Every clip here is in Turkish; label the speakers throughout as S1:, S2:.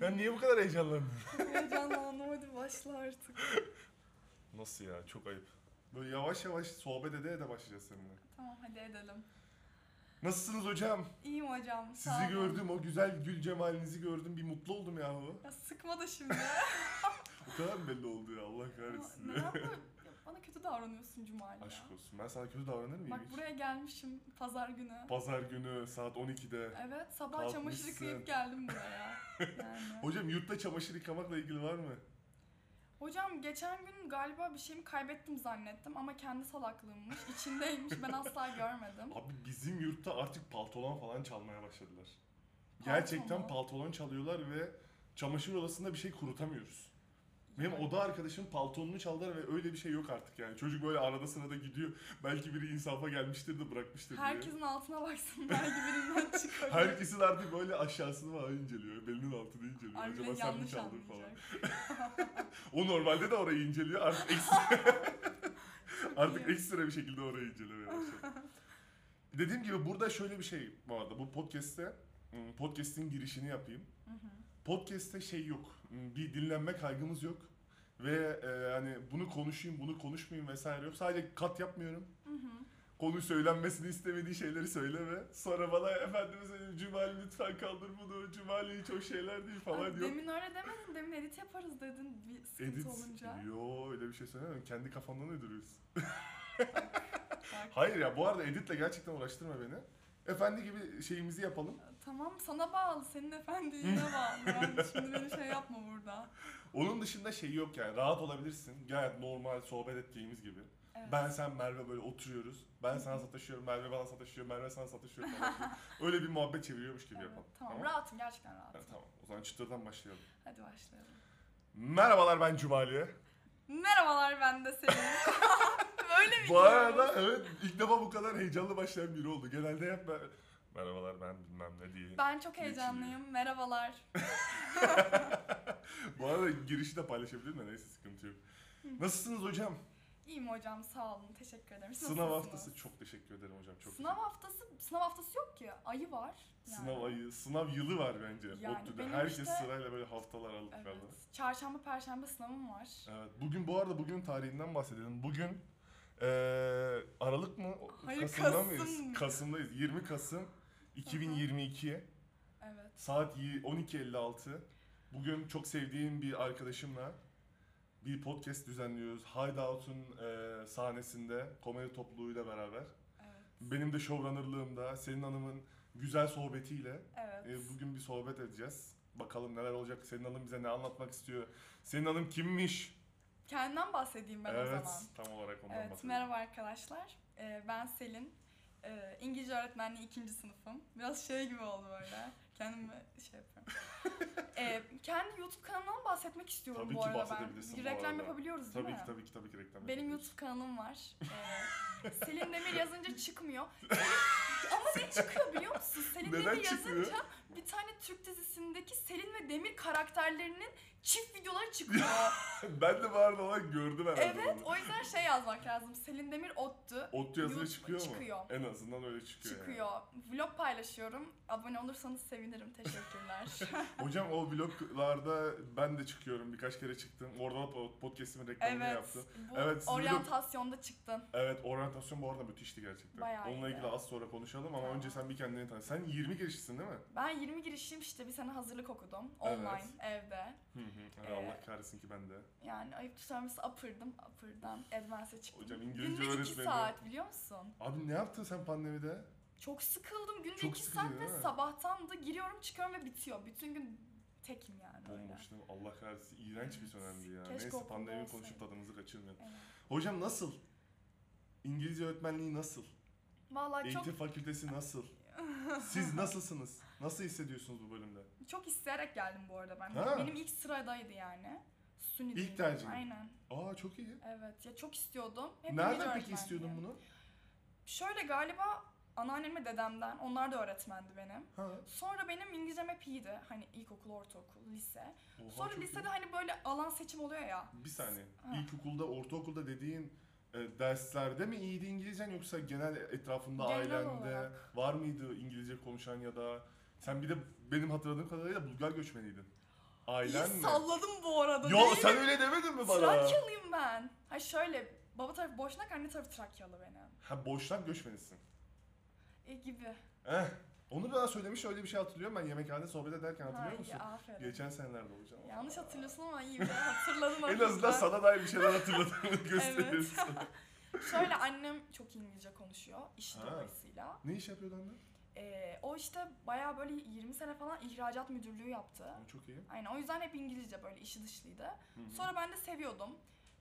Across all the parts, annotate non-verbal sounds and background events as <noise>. S1: Ben niye bu kadar heyecanlandım?
S2: Heyecanlandım hadi başla artık.
S1: Nasıl ya? Çok ayıp. Böyle yavaş yavaş sohbet ede ede başlayacağız seninle.
S2: Tamam hadi edelim.
S1: Nasılsınız hocam?
S2: İyiyim hocam
S1: Sizi
S2: sağ olun.
S1: gördüm, o güzel gül cemalinizi gördüm. Bir mutlu oldum yahu.
S2: Ya sıkma
S1: <laughs>
S2: da şimdi.
S1: O kadar mı belli oldu ya Allah kahretsin.
S2: Neden böyle ya bana kötü davranıyorsun Cumali ya?
S1: Aşk olsun. Ben sana kötü davranır mıyım
S2: Bak
S1: hiç?
S2: buraya gelmişim pazar günü.
S1: Pazar günü saat 12'de.
S2: Evet sabah çamaşır
S1: Kalkmışsın.
S2: yıkayıp
S1: <laughs>
S2: geldim buraya. Yani.
S1: Hocam yurtta çamaşır yıkamakla ilgili var mı?
S2: Hocam geçen gün galiba bir şeyimi kaybettim zannettim ama kendi salaklığımmış. İçindeymiş
S1: <laughs>
S2: ben asla görmedim.
S1: Abi bizim yurtta artık paltolan falan çalmaya başladılar.
S2: Palto
S1: Gerçekten
S2: mu?
S1: paltolan çalıyorlar ve çamaşır odasında bir şey kurutamıyoruz. Benim oda arkadaşım paltonunu çaldılar ve öyle bir şey yok artık yani. Çocuk böyle arada sırada gidiyor. Belki biri insafa gelmiştir de bırakmıştır diye.
S2: Herkesin altına baksın belki birinden çıkar.
S1: Herkesin artık böyle aşağısını falan inceliyor. Belinin altını inceliyor.
S2: Harbiden
S1: Acaba sen mi
S2: yanlış
S1: çaldın falan.
S2: anlayacak.
S1: O normalde de orayı inceliyor.
S2: <laughs>
S1: Artık ekstra, artık
S2: iyi.
S1: ekstra bir şekilde orayı incelemeye başladı. Dediğim gibi burada şöyle bir şey vardı. Bu podcast'te hmm, podcast'in girişini yapayım.
S2: Hı hı.
S1: Podcast'te şey yok. Hmm, Bir dinlenme kaygımız yok. Ve e, hani bunu konuşayım, bunu konuşmayayım vesaire yok. Sadece kat yapmıyorum.
S2: Hı hı.
S1: Konu söylenmesini istemediği şeyleri söyleme. Sonra bana efendimiz Cumali lütfen kaldır bunu. Cumali hiç o şeyler değil falan
S2: Abi
S1: yok.
S2: Demin öyle demedin. Demin edit yaparız dedin bir sıkıntı
S1: Edit.
S2: olunca.
S1: Yo öyle bir şey söylemedim. Kendi kafandan
S2: <laughs>
S1: uyduruyorsun.
S2: Bak,
S1: Hayır ya bu arada editle gerçekten uğraştırma beni. Efendi gibi şeyimizi yapalım.
S2: Tamam sana bağlı. Senin
S1: <laughs>
S2: efendiliğine bağlı. Ben şimdi beni şey yapma burada.
S1: Onun dışında şey yok yani rahat olabilirsin. Gayet normal sohbet ettiğimiz gibi.
S2: Evet.
S1: Ben sen Merve böyle oturuyoruz.
S2: <laughs>
S1: Ben sana sataşıyorum, Merve bana sataşıyor, Merve sana sataşıyor falan. öyle bir muhabbet çeviriyormuş gibi
S2: Evet,
S1: yapalım.
S2: Tamam, rahatım gerçekten rahatım.
S1: Ha, tamam. O zaman çıtırdan başlayalım.
S2: Hadi başlayalım.
S1: Merhabalar ben Cumali.
S2: Merhabalar ben de senin.
S1: <laughs>
S2: Böyle mi
S1: Bu arada evet ilk defa bu kadar heyecanlı başlayan biri oldu. Genelde hep ben... Merhabalar ben bilmem ne diye.
S2: Ben çok heyecanlıyım. Merhabalar.
S1: Bu arada girişi de paylaşabilirim de neyse sıkıntı yok. Nasılsınız hocam?
S2: İyiyim hocam sağ olun. Teşekkür ederim. Siz
S1: Sınav
S2: nasılsınız?
S1: haftası çok teşekkür ederim hocam çok.
S2: Sınav haftası, sınav haftası yok ki. Ayı var. yani.
S1: Sınav ayı, sınav yılı var bence.
S2: Yani
S1: ODTÜ'de
S2: benim
S1: herkes
S2: işte-
S1: sırayla böyle haftalar alıp evet.
S2: Evet. Çarşamba, perşembe sınavım var.
S1: Evet. Bugün bu arada bugün tarihinden bahsedelim. Bugün eee Aralık mı?
S2: Hayır,
S1: Kasım'da
S2: Kasım.
S1: mıyız? Kasım'dayız. 20 Kasım 2022
S2: Evet.
S1: saat yi- 12.56. Bugün çok sevdiğim bir arkadaşımla bir podcast düzenliyoruz. Hideout'un eee, sahnesinde komedi topluluğuyla beraber.
S2: Evet.
S1: Benim de showrunnerlığımda, Selin Hanım'ın güzel sohbetiyle
S2: Evet.
S1: E, bugün bir sohbet edeceğiz. Bakalım neler olacak. Senin hanım bize ne anlatmak istiyor? Senin hanım kimmiş?
S2: Kendimden bahsedeyim ben o
S1: evet,
S2: zaman.
S1: tam olarak ondan
S2: Evet,
S1: bahsedelim.
S2: merhaba arkadaşlar. Ee, ben Selin. Ee, İngilizce öğretmenliği ikinci sınıfım. Biraz şey gibi oldu böyle. Kendimi şey
S1: <laughs>
S2: yapıyorum. Ee, kendi YouTube kanalımdan bahsetmek istiyorum
S1: Tabii
S2: bu
S1: ki
S2: arada
S1: bahsedebilirsin
S2: ben.
S1: bu
S2: Reklam
S1: arada.
S2: yapabiliyoruz değil
S1: Tabii
S2: mi?
S1: ki tabii ki tabii ki reklam
S2: Benim
S1: yapıyoruz.
S2: YouTube kanalım var.
S1: <laughs>
S2: Ee, Selin Demir yazınca çıkmıyor. Ama ne çıkıyor biliyor musun? Selin
S1: Neden
S2: Demir
S1: çıkmıyor?
S2: yazınca bir tane Türk dizisindeki Selin ve Demir karakterlerinin çift
S1: <laughs>
S2: videoları çıkıyor.
S1: ben de bu arada olan gördüm herhalde
S2: Evet,
S1: onu.
S2: o yüzden şey yazmak lazım. Selin Demir ottu.
S1: Ot yazılı
S2: YouTube-
S1: çıkıyor mu?
S2: çıkıyor.
S1: En azından öyle çıkıyor. yani.
S2: Çıkıyor. Vlog paylaşıyorum. Abone olursanız
S1: <laughs>
S2: sevinirim. Teşekkürler.
S1: Hocam o vloglarda ben de çıkıyorum. Birkaç kere çıktım. Orada da po- podcast'imin reklamını
S2: evet.
S1: yaptım.
S2: Bu
S1: Evet, siz
S2: oryantasyonda çıktın.
S1: Evet, oryantasyon bu arada müthişti gerçekten.
S2: Bayağı
S1: Onunla
S2: iyiydi.
S1: ilgili az sonra konuşalım ama
S2: Tamam.
S1: önce sen bir kendini tanı. Sen 20 girişsin değil mi?
S2: Ben 20 girişim işte bir sene hazırlık okudum.
S1: Evet.
S2: Online, evde.
S1: Hı hı.
S2: Ee,
S1: Allah kahretsin ki ben de.
S2: Yani ayıp tutarması upper'dım. Upper'dan advance'e çıktım.
S1: Hocam İngilizce
S2: Günde 2
S1: öğretmeni.
S2: saat biliyor musun?
S1: Abi ne yaptın sen pandemide?
S2: Çok sıkıldım. Günde
S1: Çok
S2: 2
S1: sıkıcı
S2: saat ve
S1: değil mi?
S2: sabahtan da giriyorum çıkıyorum ve bitiyor. Bütün gün tekim yani öyle.
S1: Bomboşluğum Allah kahretsin iğrenç bir dönemdi ya.
S2: Keşke
S1: Neyse
S2: okulda
S1: pandemi
S2: olsaydı.
S1: konuşup tadımızı kaçırmayalım.
S2: Evet.
S1: Hocam nasıl? İngilizce öğretmenliği nasıl?
S2: Vallahi çok
S1: Eğitim fakültesi nasıl?
S2: <laughs>
S1: Siz nasılsınız? Nasıl hissediyorsunuz bu bölümde?
S2: Çok isteyerek geldim bu arada ben. Hani
S1: Ha.
S2: Benim ilk sıradaydı yani. Suni
S1: İlk
S2: değil.
S1: tercihin.
S2: Aynen.
S1: Aa çok iyi.
S2: Evet. Ya çok istiyordum. Hep İngilizce
S1: Nereden peki
S2: öğretmenliği.
S1: istiyordun bunu?
S2: Şöyle galiba anneannem ve dedemden. Onlar da öğretmendi benim.
S1: Ha.
S2: Sonra benim İngilizcem hep iyiydi. Hani ilkokul, ortaokul, lise.
S1: Oha,
S2: Sonra
S1: çok iyi.
S2: lisede hani böyle alan seçim oluyor ya.
S1: Bir saniye.
S2: Ha.
S1: İlkokulda, ortaokulda dediğin e, derslerde mi iyiydi İngilizcen yoksa genel etrafında
S2: Genel
S1: ailende
S2: olarak.
S1: var mıydı İngilizce konuşan ya da sen bir de benim hatırladığım kadarıyla Bulgar göçmeniydin. Ailen
S2: İyi
S1: mi?
S2: salladım bu arada.
S1: Yo
S2: değil
S1: sen
S2: mi?
S1: öyle demedin mi bana?
S2: Trakyalıyım ben. Ha şöyle baba tarafı Boşnak, anne tarafı Trakyalı benim.
S1: Ha boşnak göçmenisin.
S2: E gibi.
S1: Eh. Onu bana söylemiş öyle bir şey hatırlıyorum ben yemekhanede sohbet ederken
S2: Ha,
S1: hatırlıyor
S2: iyi,
S1: musun?
S2: aferin.
S1: Geçen senelerde olacağım.
S2: Yanlış hatırlıyorsun ama iyi ben
S1: <laughs>
S2: hatırladım.
S1: En
S2: aslında.
S1: azından sana dair bir şeyler hatırladığını
S2: <laughs> Evet.
S1: gösteriyorsun.
S2: şöyle annem çok İngilizce konuşuyor işi
S1: Ha.
S2: dolayısıyla.
S1: ne iş yapıyordu anne?
S2: E, o işte bayağı böyle 20 sene falan ihracat müdürlüğü yaptı.
S1: Ha, Çok iyi.
S2: Aynen o yüzden hep İngilizce böyle işi dışlıydı.
S1: Hı hı.
S2: Sonra ben de seviyordum.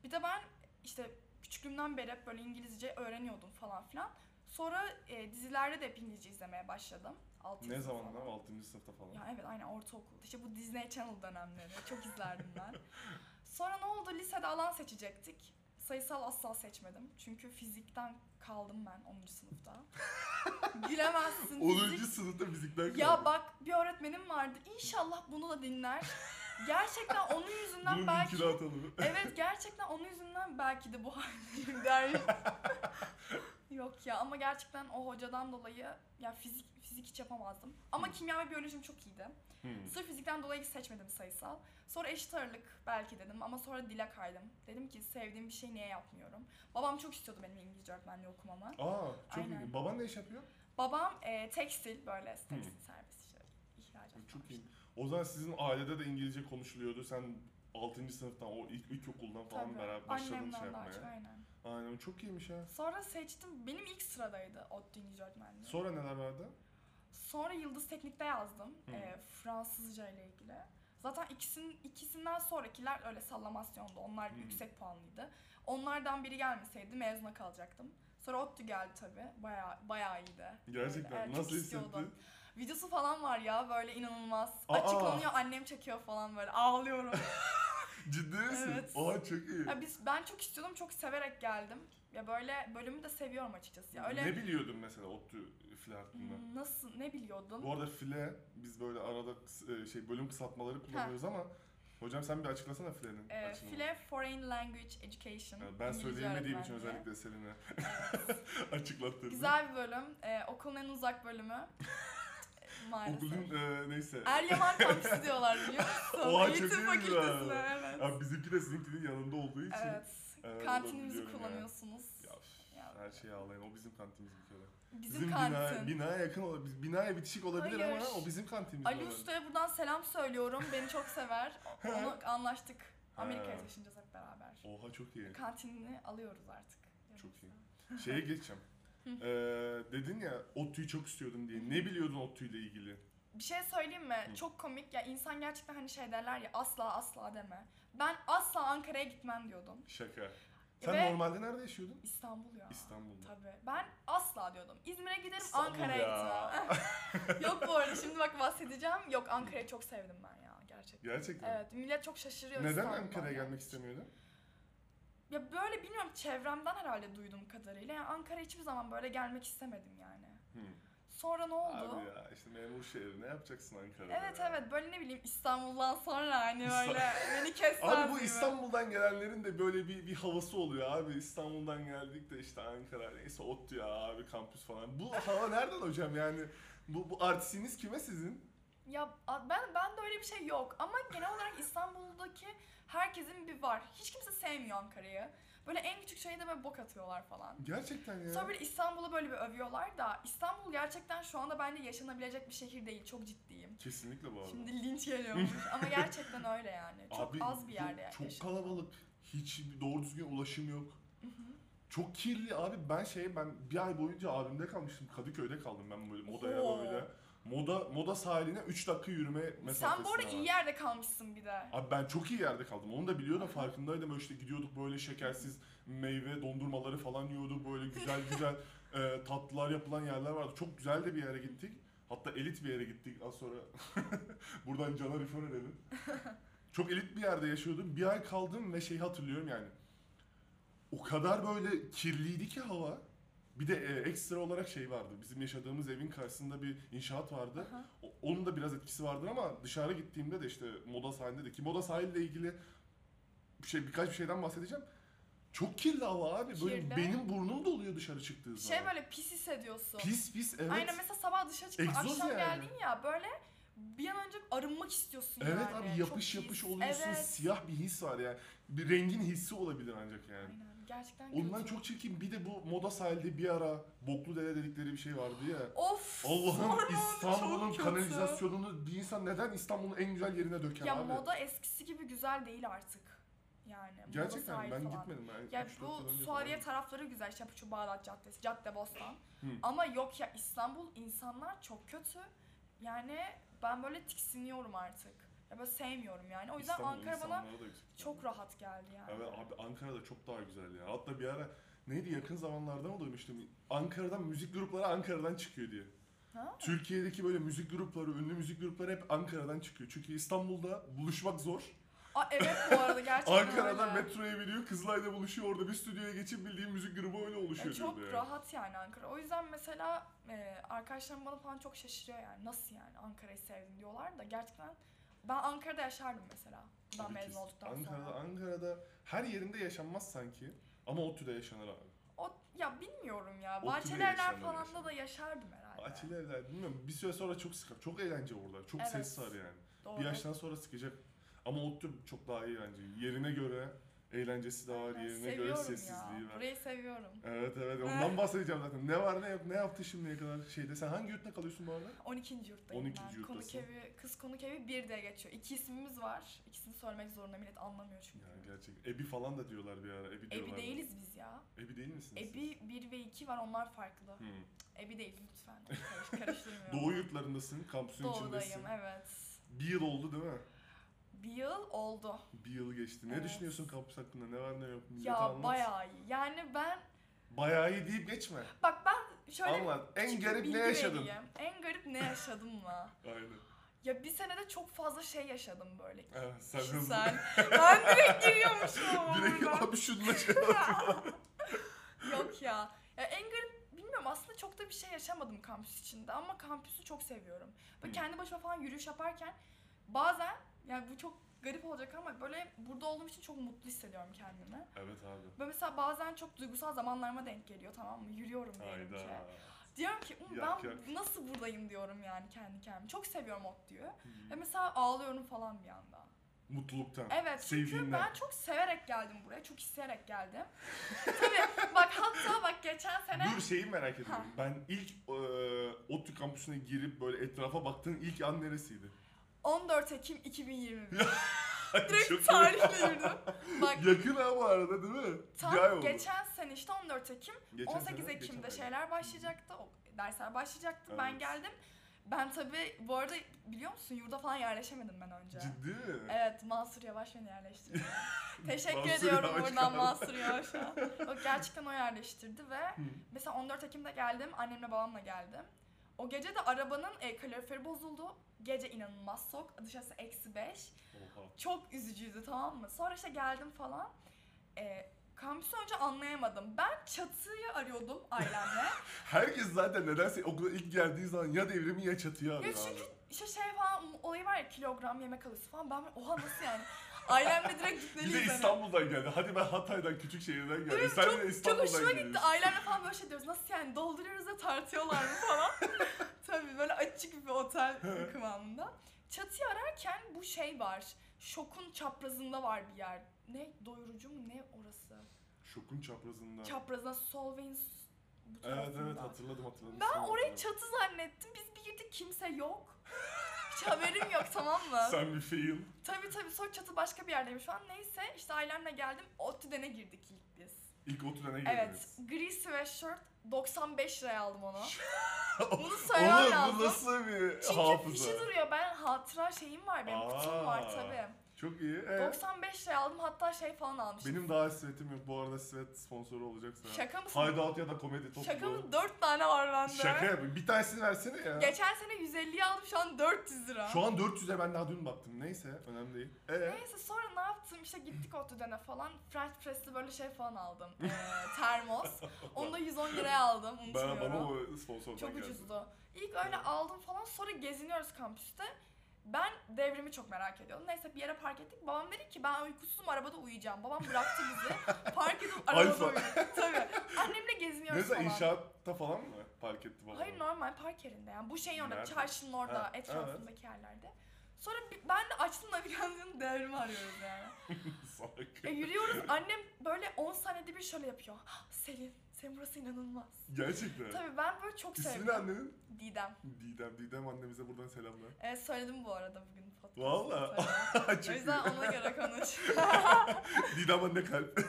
S2: Bir de ben işte küçüklüğümden beri hep böyle İngilizce öğreniyordum falan filan. Sonra e, dizilerde de hep İngilizce izlemeye başladım. Altı
S1: Ne
S2: yıl
S1: zaman
S2: falan.
S1: lan? 6. sınıfta falan.
S2: Ya evet aynen ortaokul. İşte bu Disney Channel dönemleri. Çok izlerdim ben. Sonra ne oldu? Lisede alan seçecektik. Sayısal asla seçmedim. Çünkü fizikten kaldım ben 10. sınıfta. Gülemezsin.
S1: 10.
S2: fizik-
S1: sınıfta fizikten kaldı.
S2: ya bak bir öğretmenim vardı. İnşallah bunu da dinler. Gerçekten onun yüzünden
S1: Bunun
S2: belki
S1: linkini atalım.
S2: Evet gerçekten onun yüzünden belki de bu haldeyim der. Yok ya ama gerçekten o hocadan dolayı ya fizik fizik hiç yapamazdım. Ama
S1: Hı.
S2: kimya ve biyolojim çok iyiydi.
S1: Hmm.
S2: Sırf fizikten dolayı hiç seçmedim sayısal. Sonra eşit ağırlık belki dedim ama sonra dile kaydım. Dedim ki sevdiğim bir şey niye yapmıyorum? Babam çok istiyordu benim İngilizce öğretmenliği okumamı.
S1: Aa çok
S2: Aynen.
S1: iyi. Baban ne iş yapıyor?
S2: Babam e, tekstil böyle tekstil servis işte ihracat.
S1: Çok iyi.
S2: falan.
S1: O zaman sizin ailede de İngilizce konuşuluyordu. Sen 6. sınıftan o ilk ilkokuldan falan
S2: Tabii.
S1: beraber başladın şey
S2: Annemden daha çok
S1: yapmaya.
S2: aynen.
S1: Aynen çok iyiymiş ha.
S2: Sonra seçtim. Benim ilk sıradaydı ODTÜ İngilizce öğretmenliği.
S1: Sonra neler vardı?
S2: Sonra Yıldız Teknik'te yazdım
S1: Hı.
S2: eee, Fransızca ile ilgili. Zaten ikisinin ikisinden sonrakiler öyle sallamasyondu. Onlar
S1: Hı.
S2: yüksek puanlıydı. Onlardan biri gelmeseydi mezuna kalacaktım. Sonra ODTÜ geldi tabii. Bayağı bayağı iyiydi.
S1: Gerçekten
S2: Böyle, evet, çok
S1: nasıl hissetti?
S2: istiyordum. Videosu falan var ya böyle inanılmaz.
S1: Aa!
S2: Açıklanıyor annem çekiyor falan
S1: <laughs>
S2: böyle ağlıyorum.
S1: Ciddi misin?
S2: Evet.
S1: Aa çok iyi.
S2: ya biz ben çok istiyordum çok severek geldim. Ya böyle bölümü de seviyorum açıkçası. Ya öyle
S1: Ne biliyordun mesela ODTÜ flörtünden?
S2: Hmm, nasıl ne biliyordun?
S1: Bu arada file biz böyle arada kıs- e, şey bölüm kısaltmaları kullanıyoruz ama hocam sen bir açıklasana filenin.
S2: Ee,
S1: açılımını.
S2: FLE Foreign Language Education.
S1: Ha, Ben
S2: İngilizce
S1: söyleyemediğim için
S2: öğretmenliği.
S1: özellikle Selin'e <laughs>
S2: Evet.
S1: açıklattırdım.
S2: Güzel bir bölüm. Ee, okulun en
S1: <laughs>
S2: uzak bölümü. Ee, Maalesef.
S1: Okulun e, neyse.
S2: Eryaman kampüsü diyorlar biliyor musun?
S1: <laughs> Oha, çok
S2: Eğitim
S1: iyi bir
S2: fakültesine
S1: bölüm.
S2: evet.
S1: Ya bizimki de sizinkinin yanında olduğu için. e,
S2: evet.
S1: Evet,
S2: Kantinimizi
S1: olabiliyorum ya.
S2: kullanıyorsunuz.
S1: Ya,
S2: Ya.
S1: her şeyi ağlayın. O bizim kantimiz bir kere.
S2: Bizim,
S1: Bina,
S2: kantin.
S1: binaya yakın olabilir. Binaya bitişik olabilir
S2: Hayır.
S1: ama o bizim kantimiz.
S2: Ali
S1: olabilir.
S2: Usta'ya buradan selam söylüyorum. Beni çok
S1: <laughs>
S2: sever. Onu anlaştık. Amerika'ya
S1: Ha.
S2: taşınacağız hep beraber.
S1: Oha çok iyi.
S2: Kantinini alıyoruz artık. yanımıza.
S1: Çok iyi. Şeye geçeceğim.
S2: Hı.
S1: ee, dedin ya ODTÜ'yü çok istiyordum diye. Ne biliyordun ODTÜ ile ilgili?
S2: Bir şey söyleyeyim mi?
S1: Hı.
S2: Çok komik. Ya insan gerçekten hani şey derler ya asla asla deme. Ben asla Ankara'ya gitmem diyordum.
S1: Şaka. Sen
S2: Ve-
S1: normalde nerede yaşıyordun?
S2: İstanbul ya.
S1: İstanbul'da.
S2: Tabii. Ben asla diyordum. İzmir'e giderim
S1: İstanbul
S2: Ankara'ya
S1: ya. <laughs>
S2: gitmem. Yok bu arada şimdi bak bahsedeceğim. Yok Ankara'yı çok sevdim ben ya gerçekten.
S1: Gerçekten.
S2: Evet millet çok şaşırıyor
S1: Neden
S2: İstanbul'a
S1: Ankara'ya
S2: ya.
S1: gelmek istemiyordun?
S2: Ya böyle bilmiyorum çevremden herhalde duyduğum kadarıyla. Yani Ankara hiçbir zaman böyle gelmek istemedim yani.
S1: Hı.
S2: Sonra ne oldu?
S1: Abi ya işte memur şehri ne yapacaksın Ankara'da?
S2: Evet
S1: ya?
S2: evet böyle ne bileyim İstanbul'dan sonra hani böyle beni kesmez
S1: Abi bu
S2: gibi.
S1: İstanbul'dan gelenlerin de böyle bir, bir havası oluyor abi. İstanbul'dan geldik de işte Ankara neyse ODTÜ ya abi kampüs falan. Bu hava nereden hocam yani? Bu, bu artistiniz kime sizin?
S2: Ya a- ben ben de öyle bir şey yok ama genel olarak İstanbul'daki herkesin bir var. Hiç kimse sevmiyor Ankara'yı. Böyle en küçük şeyde böyle bok atıyorlar falan.
S1: Gerçekten ya.
S2: Sonra böyle İstanbul'u böyle bir övüyorlar da İstanbul gerçekten şu anda bence yaşanabilecek bir şehir değil. Çok ciddiyim.
S1: Kesinlikle bu arada.
S2: Şimdi linç geliyormuş ama gerçekten öyle yani. Çok
S1: Abi,
S2: az bir yerde
S1: yok,
S2: yani.
S1: Çok kalabalık. Hiç doğru düzgün ulaşım yok. Çok kirli abi ben şey ben bir ay boyunca abimde kalmıştım. Kadıköy'de kaldım ben böyle modaya
S2: Oo.
S1: böyle. Moda moda sahiline 3 dakika yürüme mesafesinde.
S2: Sen bu arada
S1: var.
S2: iyi yerde kalmışsın bir de.
S1: Abi ben çok iyi yerde kaldım. Onu da biliyordum farkındaydım. Böyle işte gidiyorduk böyle şekersiz meyve dondurmaları falan yiyorduk. Böyle güzel güzel e, tatlılar yapılan yerler vardı. Çok güzel de bir yere gittik. Hatta elit bir yere gittik. Az sonra <laughs> buradan Caner İfon edelim. Çok elit bir yerde yaşıyordum. Bir ay kaldım ve şeyi hatırlıyorum yani. O kadar böyle kirliydi ki hava. Bir de e, ekstra olarak şey vardı. Bizim yaşadığımız evin karşısında bir inşaat vardı.
S2: Aha.
S1: O- Onun da biraz etkisi vardır ama dışarı gittiğimde de işte moda sahilinde de ki moda sahiliyle ilgili bir şey birkaç bir şeyden bahsedeceğim. Çok kirli hava abi. Böyle
S2: Kirli.
S1: benim burnum doluyor dışarı çıktığı zaman.
S2: Şey böyle pis hissediyorsun.
S1: Pis pis evet.
S2: Aynen mesela sabah dışarı çıkıp
S1: Egzoz
S2: akşam
S1: yani.
S2: geldin ya böyle bir an önce arınmak istiyorsun
S1: Evet
S2: yani.
S1: abi yapış
S2: Çok
S1: yapış
S2: his.
S1: oluyorsun.
S2: Evet.
S1: Siyah bir his var yani. Bir rengin hissi olabilir ancak yani.
S2: Aynen. Gerçekten
S1: Ondan
S2: kötü.
S1: çok çirkin. Bir de bu moda sahilde bir ara boklu dere dedikleri bir şey vardı ya.
S2: Of.
S1: Allah'ım
S2: sorma, çok
S1: İstanbul'un
S2: kötü.
S1: kanalizasyonunu bir insan neden İstanbul'un en güzel yerine döker
S2: Ya
S1: abi?
S2: moda eskisi gibi güzel değil artık. Yani moda
S1: Gerçekten
S2: sahil
S1: ben
S2: falan.
S1: gitmedim. Ben
S2: Ya
S1: üç, dört
S2: bu
S1: sene önce
S2: Suadiye
S1: falan.
S2: tarafları güzel işte Puçu Bağdat Caddesi, Caddebostan.
S1: Hı.
S2: Ama yok ya İstanbul insanlar çok kötü. Yani ben böyle tiksiniyorum artık. Ya böyle sevmiyorum yani. O yüzden
S1: İstanbul'un
S2: Ankara bana
S1: insanları da yüksek.
S2: çok rahat geldi yani.
S1: Ya ben abi Ankara'da çok daha güzel ya. Hatta bir ara neydi yakın zamanlarda mı duymuştum? Ankara'dan müzik grupları Ankara'dan çıkıyor diye.
S2: Ha?
S1: Türkiye'deki böyle müzik grupları, ünlü müzik grupları hep Ankara'dan çıkıyor. Çünkü İstanbul'da buluşmak zor.
S2: Aa, evet bu arada gerçekten
S1: Ankara'dan
S2: öyle.
S1: metroya biniyor, Kızılay'da buluşuyor. Orada bir stüdyoya geçip bildiğim müzik grubu öyle
S2: Ya
S1: oluşuyor
S2: çok
S1: diyordu yani.
S2: rahat yani Ankara. O yüzden mesela e, arkadaşlarım bana falan çok şaşırıyor yani. Nasıl yani Ankara'yı sevdin diyorlar da gerçekten ben Ankara'da yaşardım mesela. Buradan
S1: Tabii ki.
S2: mezun olduktan
S1: Ankara'da,
S2: sonra.
S1: Ankara'da her yerinde yaşanmaz sanki. Ama ODTÜ'de yaşanır abi.
S2: O, ya bilmiyorum ya.
S1: Oturuyor
S2: Bahçelerler
S1: insanlar
S2: falan da
S1: yaşıyor.
S2: da yaşardım herhalde.
S1: Bahçelievler bilmiyorum bir süre sonra çok sıkar. Çok eğlence orada. Çok
S2: Evet.
S1: ses var yani.
S2: Doğru.
S1: Bir yaştan sonra sıkacak. Ama ODTÜ çok daha eğlence. Yerine göre eğlencesi de var,
S2: Ben
S1: yerine göre
S2: seviyorum ya.
S1: sessizliği var.
S2: Burayı seviyorum.
S1: Evet evet ondan bahsedeceğim zaten. Ne var ne yok ne yaptı şimdiye kadar şeyde. Sen hangi yurtta kalıyorsun bu arada?
S2: 12. yurttayım
S1: 12.
S2: ben. Konuk
S1: yurttasın.
S2: evi, kız konuk evi 1 diye geçiyor. İki ismimiz var. İkisini söylemek zorunda millet anlamıyor çünkü.
S1: Ya gerçek. Ebi falan da diyorlar bir ara. Ebi diyorlar.
S2: Ebi değiliz biz ya.
S1: Ebi değil misiniz? siz?
S2: Ebi 1 ve 2 var onlar farklı.
S1: Hı.
S2: Ebi değil
S1: <laughs>
S2: lütfen. Karış- Karıştırmayalım.
S1: Doğu yurtlarındasın, kampüsün içindesin.
S2: Doğudayım evet.
S1: Bir yıl oldu değil mi?
S2: Bir yıl oldu.
S1: Bir yıl geçti. Ne
S2: Evet.
S1: düşünüyorsun kampüs hakkında? Ne var ne yok? Millete
S2: ya
S1: anlat.
S2: bayağı iyi. Yani ben
S1: Bayağı iyi deyip geçme.
S2: bak ben şöyle
S1: anlat. En
S2: küçük bir
S1: garip
S2: bilgi
S1: ne yaşadın?
S2: vereyim. En garip ne yaşadım mı?
S1: Aynen.
S2: Ya bir senede çok fazla şey yaşadım böyle.
S1: Evet, <laughs> sen hızlı.
S2: Kişisel. ben
S1: <laughs>
S2: direkt giriyormuşum <laughs> ama
S1: Direkt
S2: buradan.
S1: abi şununla
S2: <laughs>
S1: şey.
S2: Yok ya. Ya en garip bilmiyorum aslında çok da bir şey yaşamadım kampüs içinde ama kampüsü çok seviyorum. Böyle
S1: Hı.
S2: kendi başıma falan yürüyüş yaparken bazen yani bu çok garip olacak ama böyle burada olduğum için çok mutlu hissediyorum kendimi.
S1: Evet abi.
S2: Böyle mesela bazen çok duygusal zamanlarıma denk geliyor tamam mı? Yürüyorum diyelim ki.
S1: Hayda.
S2: Diyorum ki "Ulan
S1: Yak,
S2: ben
S1: yak.
S2: nasıl buradayım diyorum yani kendi kendime. Çok seviyorum ot diyor.
S1: Hmm.
S2: Ve mesela ağlıyorum falan bir anda.
S1: Mutluluktan.
S2: Evet çünkü
S1: Sevdiğinden.
S2: ben çok severek geldim buraya. Çok isteyerek geldim. <laughs> Tabii bak hatta bak geçen sene
S1: Dur şeyi merak ediyorum.
S2: Ha.
S1: Ben ilk e, ODTÜ kampüsüne girip böyle etrafa baktığın ilk an neresiydi? <laughs>
S2: 14 Ekim 2021.
S1: Çok
S2: Direkt tarihle girdim. Bak
S1: Yakın ha bu arada değil mi? Bir ay
S2: tam
S1: oldu.
S2: geçen sene işte 14 Ekim
S1: Geçen
S2: 18
S1: sene, geçen
S2: Ekim'de
S1: ay.
S2: şeyler başlayacaktı. O dersler başlayacaktı. Ben
S1: Evet.
S2: geldim. Ben tabii bu arada biliyor musun yurda falan yerleşemedim ben önce.
S1: Ciddi mi?
S2: Evet Mansur Yavaş beni yerleştirdi.
S1: <laughs>
S2: Teşekkür
S1: Mansur
S2: ediyorum
S1: Yavaş
S2: buradan
S1: kaldı.
S2: Mansur Yavaş'a. O gerçekten o yerleştirdi ve
S1: Hı.
S2: mesela 14 Ekim'de geldim. Annemle babamla geldim. O gece de arabanın e, kaloriferi bozuldu. Gece inanılmaz soğuk. Dışarısı eksi 5.
S1: Oha.
S2: Çok üzücüydü tamam mı? Sonra işte geldim falan. E, kampüsü önce anlayamadım. Ben çatıyı arıyordum
S1: <laughs>
S2: ailemle.
S1: Herkes zaten nedense okula ilk geldiği zaman ya devrimi ya çatıya arıyor
S2: Ya
S1: abi.
S2: işte şey falan olayı var ya kilogram yemek alıyorsun falan. Ben böyle, oha nasıl yani? Ailemle direkt
S1: Bir de
S2: gitmeliyiz. hani.
S1: İstanbul'dan geldi. Hadi ben Hatay'dan küçük şehirden geldim.
S2: Evet,
S1: Sen
S2: çok-
S1: de
S2: Çok
S1: İstanbul'dan
S2: hoşuma gitti.
S1: geliyorsun.
S2: Ailemle falan böyle şey diyoruz. Nasıl yani dolduruyoruz da tartıyorlar mı
S1: <laughs>
S2: falan. Tabii böyle açık bir otel kıvamında. Çatıyı ararken bu şey var. Şokun çaprazında var bir yer. Ne doyurucu mu ne orası?
S1: Şokun çaprazında.
S2: Çaprazına Solvay'ın bu
S1: evet evet
S2: tarafında.
S1: hatırladım hatırladım.
S2: Ben
S1: Sen
S2: orayı
S1: hatırladın.
S2: çatı zannettim. Biz bir girdik kimse yok. Hiç haberim
S1: <laughs>
S2: yok tamam mı?
S1: Sen bir fail.
S2: Tabii tabii sonra çatı başka bir yerdeymiş şu an. Neyse işte ailemle geldim. Ottüden'e girdik ilk biz.
S1: İlk oturana
S2: Evet.
S1: girdiniz.
S2: Gri sweatshirt 95 liraya
S1: <laughs>
S2: aldım onu. Bunu söylemem
S1: Oğlum
S2: lazım.
S1: bu nasıl bir
S2: Çünkü şey
S1: hafıza?
S2: fişi duruyor. Ben hatıra şeyim var benim. Kutum var
S1: Aa.
S2: tabii.
S1: Çok iyi. Ee,
S2: 95 liraya aldım. Hatta şey falan almıştım.
S1: benim daha sweatim yok. Bu arada sweat sponsoru olacaksa.
S2: Şaka mısın?
S1: Hideout ya da komedi topu.
S2: Şaka mı? 4 tane var bende.
S1: Şaka yapayım. Bir tanesini versene ya.
S2: Geçen sene 150'ye aldım. Şu an 400 lira.
S1: Şu an 400'e ben daha dün baktım. Neyse önemli değil. Ee,
S2: Neyse sonra ne yaptım işte gittik Otoden'e falan French Press'li böyle şey falan aldım Ee, termos
S1: <laughs>
S2: onu da 110 liraya aldım
S1: ben,
S2: unutmuyorum
S1: bana o sponsordan
S2: Çok
S1: geldi.
S2: ucuzdu. İlk öyle
S1: Evet.
S2: aldım falan sonra geziniyoruz kampüste. Ben devrimi çok merak ediyordum. Neyse bir yere park ettik. Babam dedi ki ben uykusuzum arabada uyuyacağım. Babam bıraktı
S1: <laughs>
S2: bizi. park edip arabada
S1: Alfa.
S2: uyudu. Tabii. Annemle gezmiyoruz
S1: Neyse
S2: falan.
S1: inşaatta falan mı park etti babam?
S2: Hayır normal park yerinde yani bu şeyin orada
S1: Nerede?
S2: çarşının orada
S1: Ha,
S2: etrafındaki yerlerde. Sonra bi- ben de açtım navigasyonu devrimi arıyoruz yani.
S1: <laughs> Salak.
S2: Ya yürüyoruz annem böyle 10 saniyede bir şöyle yapıyor. "Hah, Selin, sen burası inanılmaz.
S1: Gerçekten.
S2: Tabii ben böyle çok
S1: İsmi ne
S2: sevdim.
S1: annenin?
S2: Didem.
S1: Didem. Didem annemize buradan selamlar.
S2: Evet söyledim bu arada bugün podcast'ta.
S1: Valla.
S2: söyledim.
S1: <laughs>
S2: o
S1: Çok
S2: yüzden
S1: <laughs>
S2: ona göre konuş.
S1: iyi. Didem anne kalp.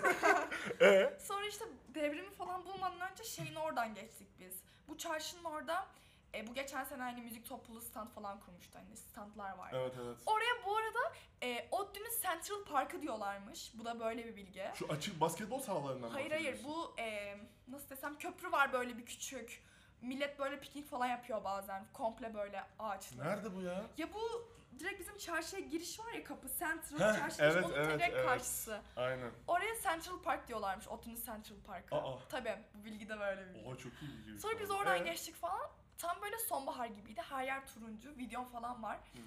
S2: Sonra işte devrimi falan bulmadan önce şeyin oradan geçtik biz. Bu çarşının orada e, bu geçen sene hani müzik topluluğu stand falan kurmuştu. Hani standlar vardı.
S1: evet evet.
S2: Oraya bu arada e, ODTÜ'nün Central Park'ı diyorlarmış. Bu da böyle bir bilgi.
S1: Şu açık basketbol sahalarından
S2: Hayır hayır bu e, nasıl desem köprü var böyle bir küçük. Millet böyle piknik falan yapıyor bazen. Komple böyle ağaçlı.
S1: Nerede bu ya?
S2: Ya bu direkt bizim çarşıya giriş var ya kapı Central
S1: Heh,
S2: çarşı
S1: evet,
S2: onun
S1: evet,
S2: direkt
S1: evet.
S2: karşısı.
S1: Aynen.
S2: Oraya Central Park diyorlarmış. ODTÜ'nün Central Park'ı.
S1: Aa.
S2: Tabii bu bilgi de böyle bir bilgi.
S1: Oha çok iyi bir gibi.
S2: Sonra
S1: şu
S2: biz
S1: an.
S2: oradan
S1: Ee?
S2: geçtik falan. Tam böyle sonbahar gibiydi. Her yer turuncu. Videom falan var.
S1: Hı.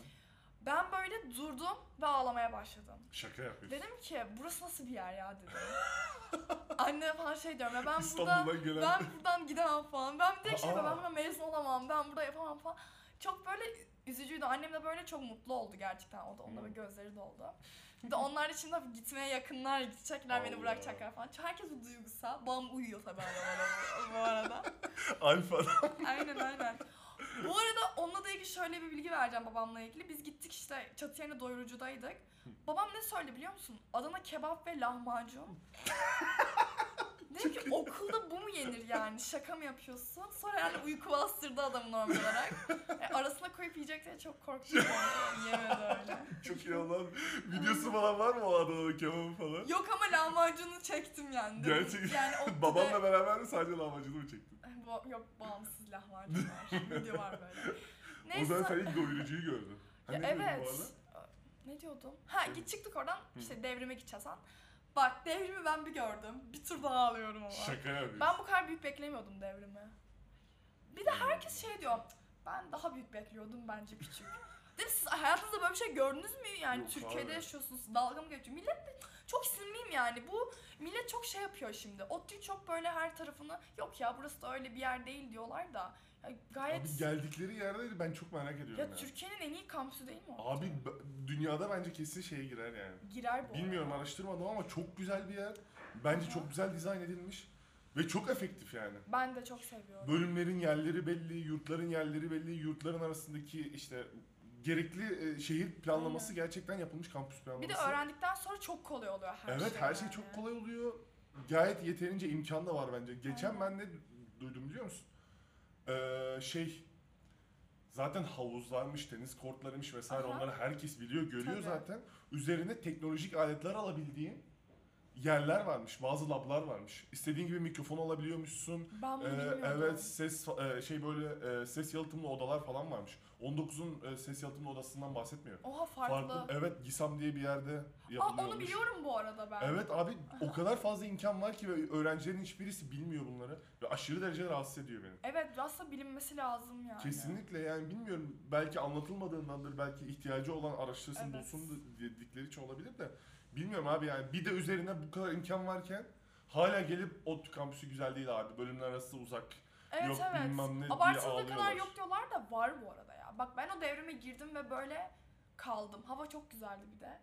S2: Ben böyle durdum ve ağlamaya başladım.
S1: Şaka yapıyorsun.
S2: Dedim ki burası nasıl bir yer ya dedim. Anne falan şey diyorum ya ben buradan
S1: İstanbul'dan gelen... <laughs>
S2: ben buradan gidemem falan. Ben bir de şey
S1: Aa.
S2: ben burada mezun olamam. Ben burada yapamam falan. Çok böyle üzücüydü. Annem de böyle çok mutlu oldu gerçekten. O da onun da
S1: Hı.
S2: böyle gözleri doldu. Bir de onlar da şimdi hafif gitmeye yakınlar, gidecekler beni
S1: Allah.
S2: bırakacaklar falan. Herkes bu duygusal. Babam uyuyor tabii arabada bu- bu arada.
S1: Alfa.
S2: Aynen aynen. Bu arada onunla da ilgili şöyle bir bilgi vereceğim babamla ilgili. Biz gittik işte çatı yerine doyurucudaydık. Babam ne söyledi biliyor musun? Adana kebap ve lahmacun.
S1: <laughs>
S2: Dedim ki okulda bu mu yenir yani? Şaka mı yapıyorsun? Sonra yani uyku bastırdı adamı normal olarak. E, arasına koyup yiyecek diye çok korktum. <laughs> yani. Yemedi öyle.
S1: <laughs> Çok iyi olan videosu falan var mı o Adana'da kebabı falan?
S2: Yok ama lahmacunu çektim yani. Dedim,
S1: Gerçek- <laughs>
S2: Yani o
S1: Babamla beraber mi sadece lahmacunu mu çektin?
S2: Ba- yok bağımsız lahmacun var. Video var böyle.
S1: O zaman sen ilk doyurucuyu gördün. Ha,
S2: Ya
S1: ne diyordun bu arada?
S2: evet. Ne diyordum? Ha
S1: Evet.
S2: git çıktık oradan işte devrime gideceğiz ha. Bak devrimi ben bir gördüm. Bir tur daha alıyorum ama.
S1: Şaka yapıyorsun.
S2: Ben bu kadar büyük beklemiyordum devrimi. Bir de herkes şey diyor. Ben daha büyük bekliyordum bence küçük. Dedim siz hayatınızda böyle bir şey gördünüz mü? Yani
S1: Yok
S2: Türkiye'de
S1: abi.
S2: yaşıyorsunuz dalga mı geçiyor? Millet de çok sinirliyim yani. Bu millet çok şey yapıyor şimdi. ODTÜ çok böyle her tarafını yok ya burası da öyle bir yer değil diyorlar da. Ya gayet
S1: Abi geldikleri yerde ben çok merak ediyorum.
S2: ya
S1: yani.
S2: Türkiye'nin en iyi kampüsü değil mi? o?
S1: Abi b- dünyada bence kesin şeye girer yani.
S2: Girer bu.
S1: Bilmiyorum araştırmadım ama çok güzel bir yer. Bence
S2: Aha.
S1: çok güzel dizayn edilmiş ve çok efektif yani.
S2: Ben de çok seviyorum.
S1: Bölümlerin yerleri belli, yurtların yerleri belli, yurtların arasındaki işte gerekli e, şehir planlaması gerçekten yapılmış kampüs
S2: Bir
S1: planlaması.
S2: de öğrendikten sonra çok kolay oluyor her şey.
S1: Evet her şey
S2: yani.
S1: çok kolay oluyor. Gayet yeterince imkan da var bence. Geçen ben ne duydum biliyor musun? Ee, şey zaten havuzlarmış, tenis kortlarmış vesaire
S2: Aha.
S1: onları herkes biliyor, görüyor
S2: Tabii.
S1: zaten. Üzerine teknolojik aletler alabildiğin yerler varmış, bazı lablar varmış. İstediğin gibi mikrofon alabiliyormuşsun.
S2: Ben bunu
S1: Ee,
S2: bilmiyordum.
S1: evet ses fa- e, şey böyle e, ses yalıtımlı odalar falan varmış. 19'un e, ses yalıtımlı odasından bahsetmiyor.
S2: Oha farklı.
S1: evet Gisam diye bir yerde
S2: Aa,
S1: yapılıyormuş.
S2: onu biliyorum bu arada ben.
S1: Evet abi o kadar fazla imkan var ki ve öğrencilerin hiçbirisi bilmiyor bunları ve aşırı derecede rahatsız ediyor beni.
S2: Evet rasta bilinmesi lazım yani.
S1: Kesinlikle yani bilmiyorum belki anlatılmadığındandır belki ihtiyacı olan araştırsın
S2: Evet.
S1: bulsun dedikleri için olabilir de bilmiyorum abi yani bir de üzerine bu kadar imkan varken hala gelip ODTÜ kampüsü güzel değil abi bölümler arası uzak.
S2: Evet
S1: Yok,
S2: evet.
S1: bilmem ne diye
S2: Abartıldığı kadar
S1: ağlıyorlar.
S2: yok diyorlar da var bu arada ya. Bak ben o devrime girdim ve böyle kaldım. Hava çok güzeldi bir de.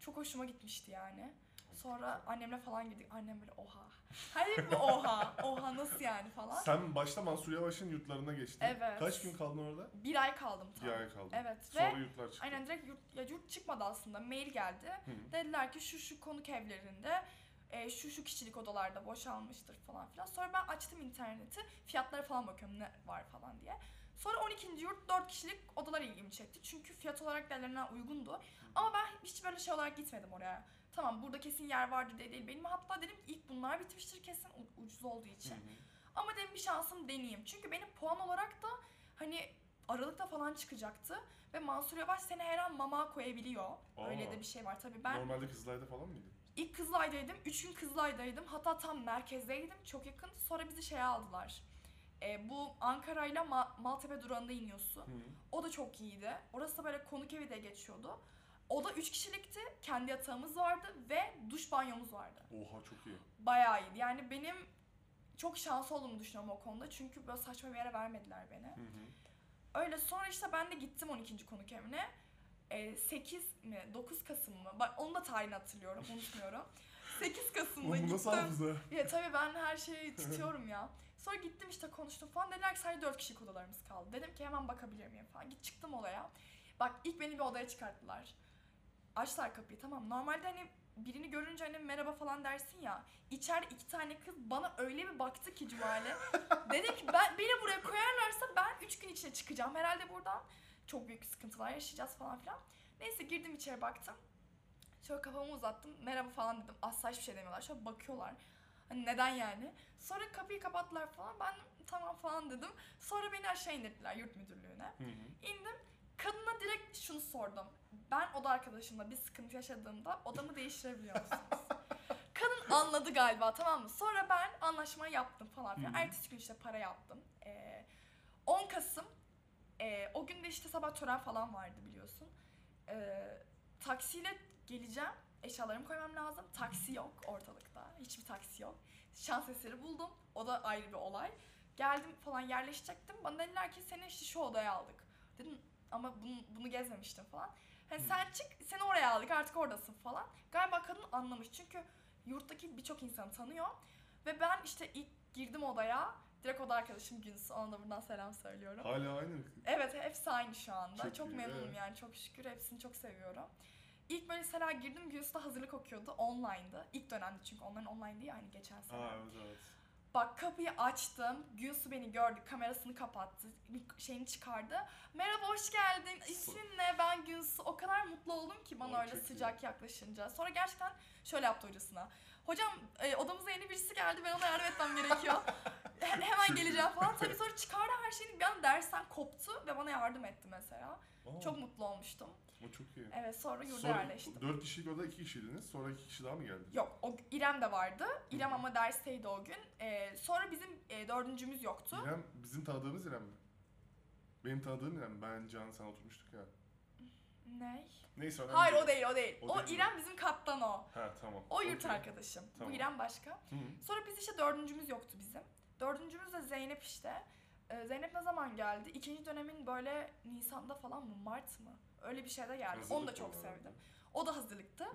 S2: Çok hoşuma gitmişti yani. Sonra annemle falan girdik. Annem böyle oha. Her yer
S1: <laughs>
S2: bir oha. Oha nasıl yani falan.
S1: Sen başta Mansur Yavaş'ın yurtlarına geçtin.
S2: Evet.
S1: Kaç gün kaldın orada?
S2: Bir ay kaldım tam.
S1: Bir ay kaldın.
S2: Evet ve
S1: Sonra yurtlar çıktı.
S2: Aynen direkt yurt, ya yurt çıkmadı aslında. Mail geldi.
S1: Hı.
S2: Dediler ki şu şu konuk evlerinde e, şu şu kişilik odalarda boşalmıştır falan filan. Sonra ben açtım interneti. Fiyatlara falan bakıyorum ne var falan diye. Sonra 12. yurt 4 kişilik odalar ilgimi çekti. Çünkü fiyat olarak değerlerinden uygundu. Ama ben hiç böyle şey olarak gitmedim oraya. Tamam burada kesin yer vardır diye değil. Benim hatta dedim ki ilk bunlar bitmiştir kesin u- ucuz olduğu
S1: Hı
S2: için.
S1: hı.
S2: Ama dedim bir şansım deneyeyim. Çünkü benim puan olarak da hani Aralık'ta falan çıkacaktı. Ve Mansur Yavaş seni her an mama koyabiliyor.
S1: Aa.
S2: Öyle de bir şey var. Tabii ben
S1: Normalde Kızılay'da falan mıydı?
S2: ilk Kızılay'daydım. Üç gün Kızılay'daydım. Hatta tam merkezdeydim. Çok yakın. Sonra bizi şeye aldılar. E, bu Ankara'yla Ma- Maltepe durağında iniyorsun.
S1: Hı.
S2: O da çok iyiydi. Orası da böyle konuk evi de geçiyordu. O da 3 kişilikti. Kendi yatağımız vardı ve duş banyomuz vardı.
S1: Oha çok iyi.
S2: Bayağı iyiydi. Yani benim çok şanslı olduğumu düşünüyorum o konuda. Çünkü böyle saçma bir yere vermediler beni.
S1: Hı hı.
S2: Öyle sonra işte ben de gittim 12. konuk evine. Ee, 8 mi 9 Kasım mı? Bak onun da tarihini hatırlıyorum unutmuyorum.
S1: <laughs>
S2: 8 Kasım'da
S1: Oğlum bu nasıl
S2: gittim.
S1: hafıza?
S2: Ya tabii ben her şeyi tutuyorum ya. Sonra gittim işte konuştum falan. Dediler ki sadece 4 kişilik odalarımız kaldı. Dedim ki hemen bakabilir miyim falan. Git çıktım olaya. Bak ilk beni bir odaya çıkarttılar. Açtılar kapıyı tamam. Normalde hani birini görünce hani merhaba falan dersin ya. İçeride iki tane kız bana öyle bir baktı ki Cumali. Dedim ki ben, beni buraya koyarlarsa ben 3 gün içine çıkacağım. Herhalde buradan çok büyük sıkıntılar yaşayacağız falan filan. Neyse girdim içeri baktım. Şöyle kafamı uzattım. Merhaba falan dedim. Asla hiçbir şey demiyorlar. Şöyle bakıyorlar. Hani neden yani? Sonra kapıyı kapattılar falan. Ben tamam falan dedim. Sonra beni aşağı indirdiler yurt müdürlüğüne.
S1: Hı hı.
S2: İndim. Kadına direkt şunu sordum. Ben oda arkadaşımla bir sıkıntı yaşadığımda odamı değiştirebiliyor musunuz?
S1: <laughs>
S2: Kadın anladı galiba tamam mı? Sonra ben anlaşmayı yaptım falan filan.
S1: Hı hı.
S2: Ertesi gün işte para yaptım. Ee, 10 Kasım ee, o gün de işte sabah tören falan vardı biliyorsun. Ee, taksiyle geleceğim. Eşyalarımı koymam lazım. Taksi yok ortalıkta. Hiçbir taksi yok. Şans eseri buldum. O da ayrı bir olay. Geldim falan yerleşecektim. Bana dediler ki seni işte şu odaya aldık. Dedim ama bunu, bunu gezmemiştim falan. Hani
S1: Hmm.
S2: sen çık seni oraya aldık artık oradasın falan. Galiba kadın anlamış çünkü yurttaki birçok insanı tanıyor. Ve ben işte ilk girdim odaya. Direkt oda arkadaşım Günsü. Ona da buradan selam söylüyorum.
S1: Hala aynı.
S2: Evet hepsi aynı şu anda.
S1: Çok
S2: Çok,
S1: iyi,
S2: memnunum
S1: evet.
S2: yani çok şükür hepsini çok seviyorum. İlk böyle mesela girdim Gülsü'de hazırlık okuyordu online'dı. İlk dönemdi çünkü onların online'dı ya hani geçen sene.
S1: Aa evet evet.
S2: Bak kapıyı açtım. Gülsü beni gördü. Kamerasını kapattı. mik- Şeyini çıkardı. Merhaba hoş geldin. İsmin ne? Ben Gülsü. O kadar mutlu oldum ki bana
S1: Aa,
S2: öyle
S1: çok iyi.
S2: sıcak yaklaşınca. Sonra gerçekten şöyle yaptı hocasına. Hocam e, odamıza yeni birisi geldi. Ben ona yardım
S1: <laughs>
S2: etmem gerekiyor. He- Hemen
S1: Çok iyi.
S2: geleceğim falan. Tabii sonra çıkardı her şeyini. Bir an dersten koptu ve bana yardım etti mesela.
S1: Aa,
S2: Çok mutlu olmuştum.
S1: O Oh. çok iyi.
S2: Evet sonra yurda
S1: Sonra
S2: yerleştim.
S1: 4 kişilik oda 2 kişiydiniz. Sonra 2 kişi daha mı geldi?
S2: Yok o İrem de vardı. İrem ama dersteydi o gün. E, sonra bizim e, dördüncümüz yoktu.
S1: İrem bizim tanıdığımız İrem mi? Benim tanıdığım İrem. Ben Can sen oturmuştuk ya.
S2: Ney?
S1: Neyse önemli
S2: Hayır o değil o değil.
S1: O
S2: O,
S1: değil mi?
S2: İrem bizim kaptan o.
S1: Ha tamam.
S2: O yurt
S1: Okey.
S2: arkadaşım.
S1: Tamam.
S2: Bu İrem başka.
S1: Hı hı.
S2: Sonra biz işte dördüncümüz yoktu bizim. Dördüncümüz de Zeynep işte. Ee, Zeynep ne zaman geldi? İkinci dönemin böyle Nisan'da falan mı? Mart mı? Öyle bir şeyde geldi. Onu da
S1: Hazırlık
S2: çok
S1: olarak.
S2: sevdim. O da hazırlıktı.
S1: Hı hı.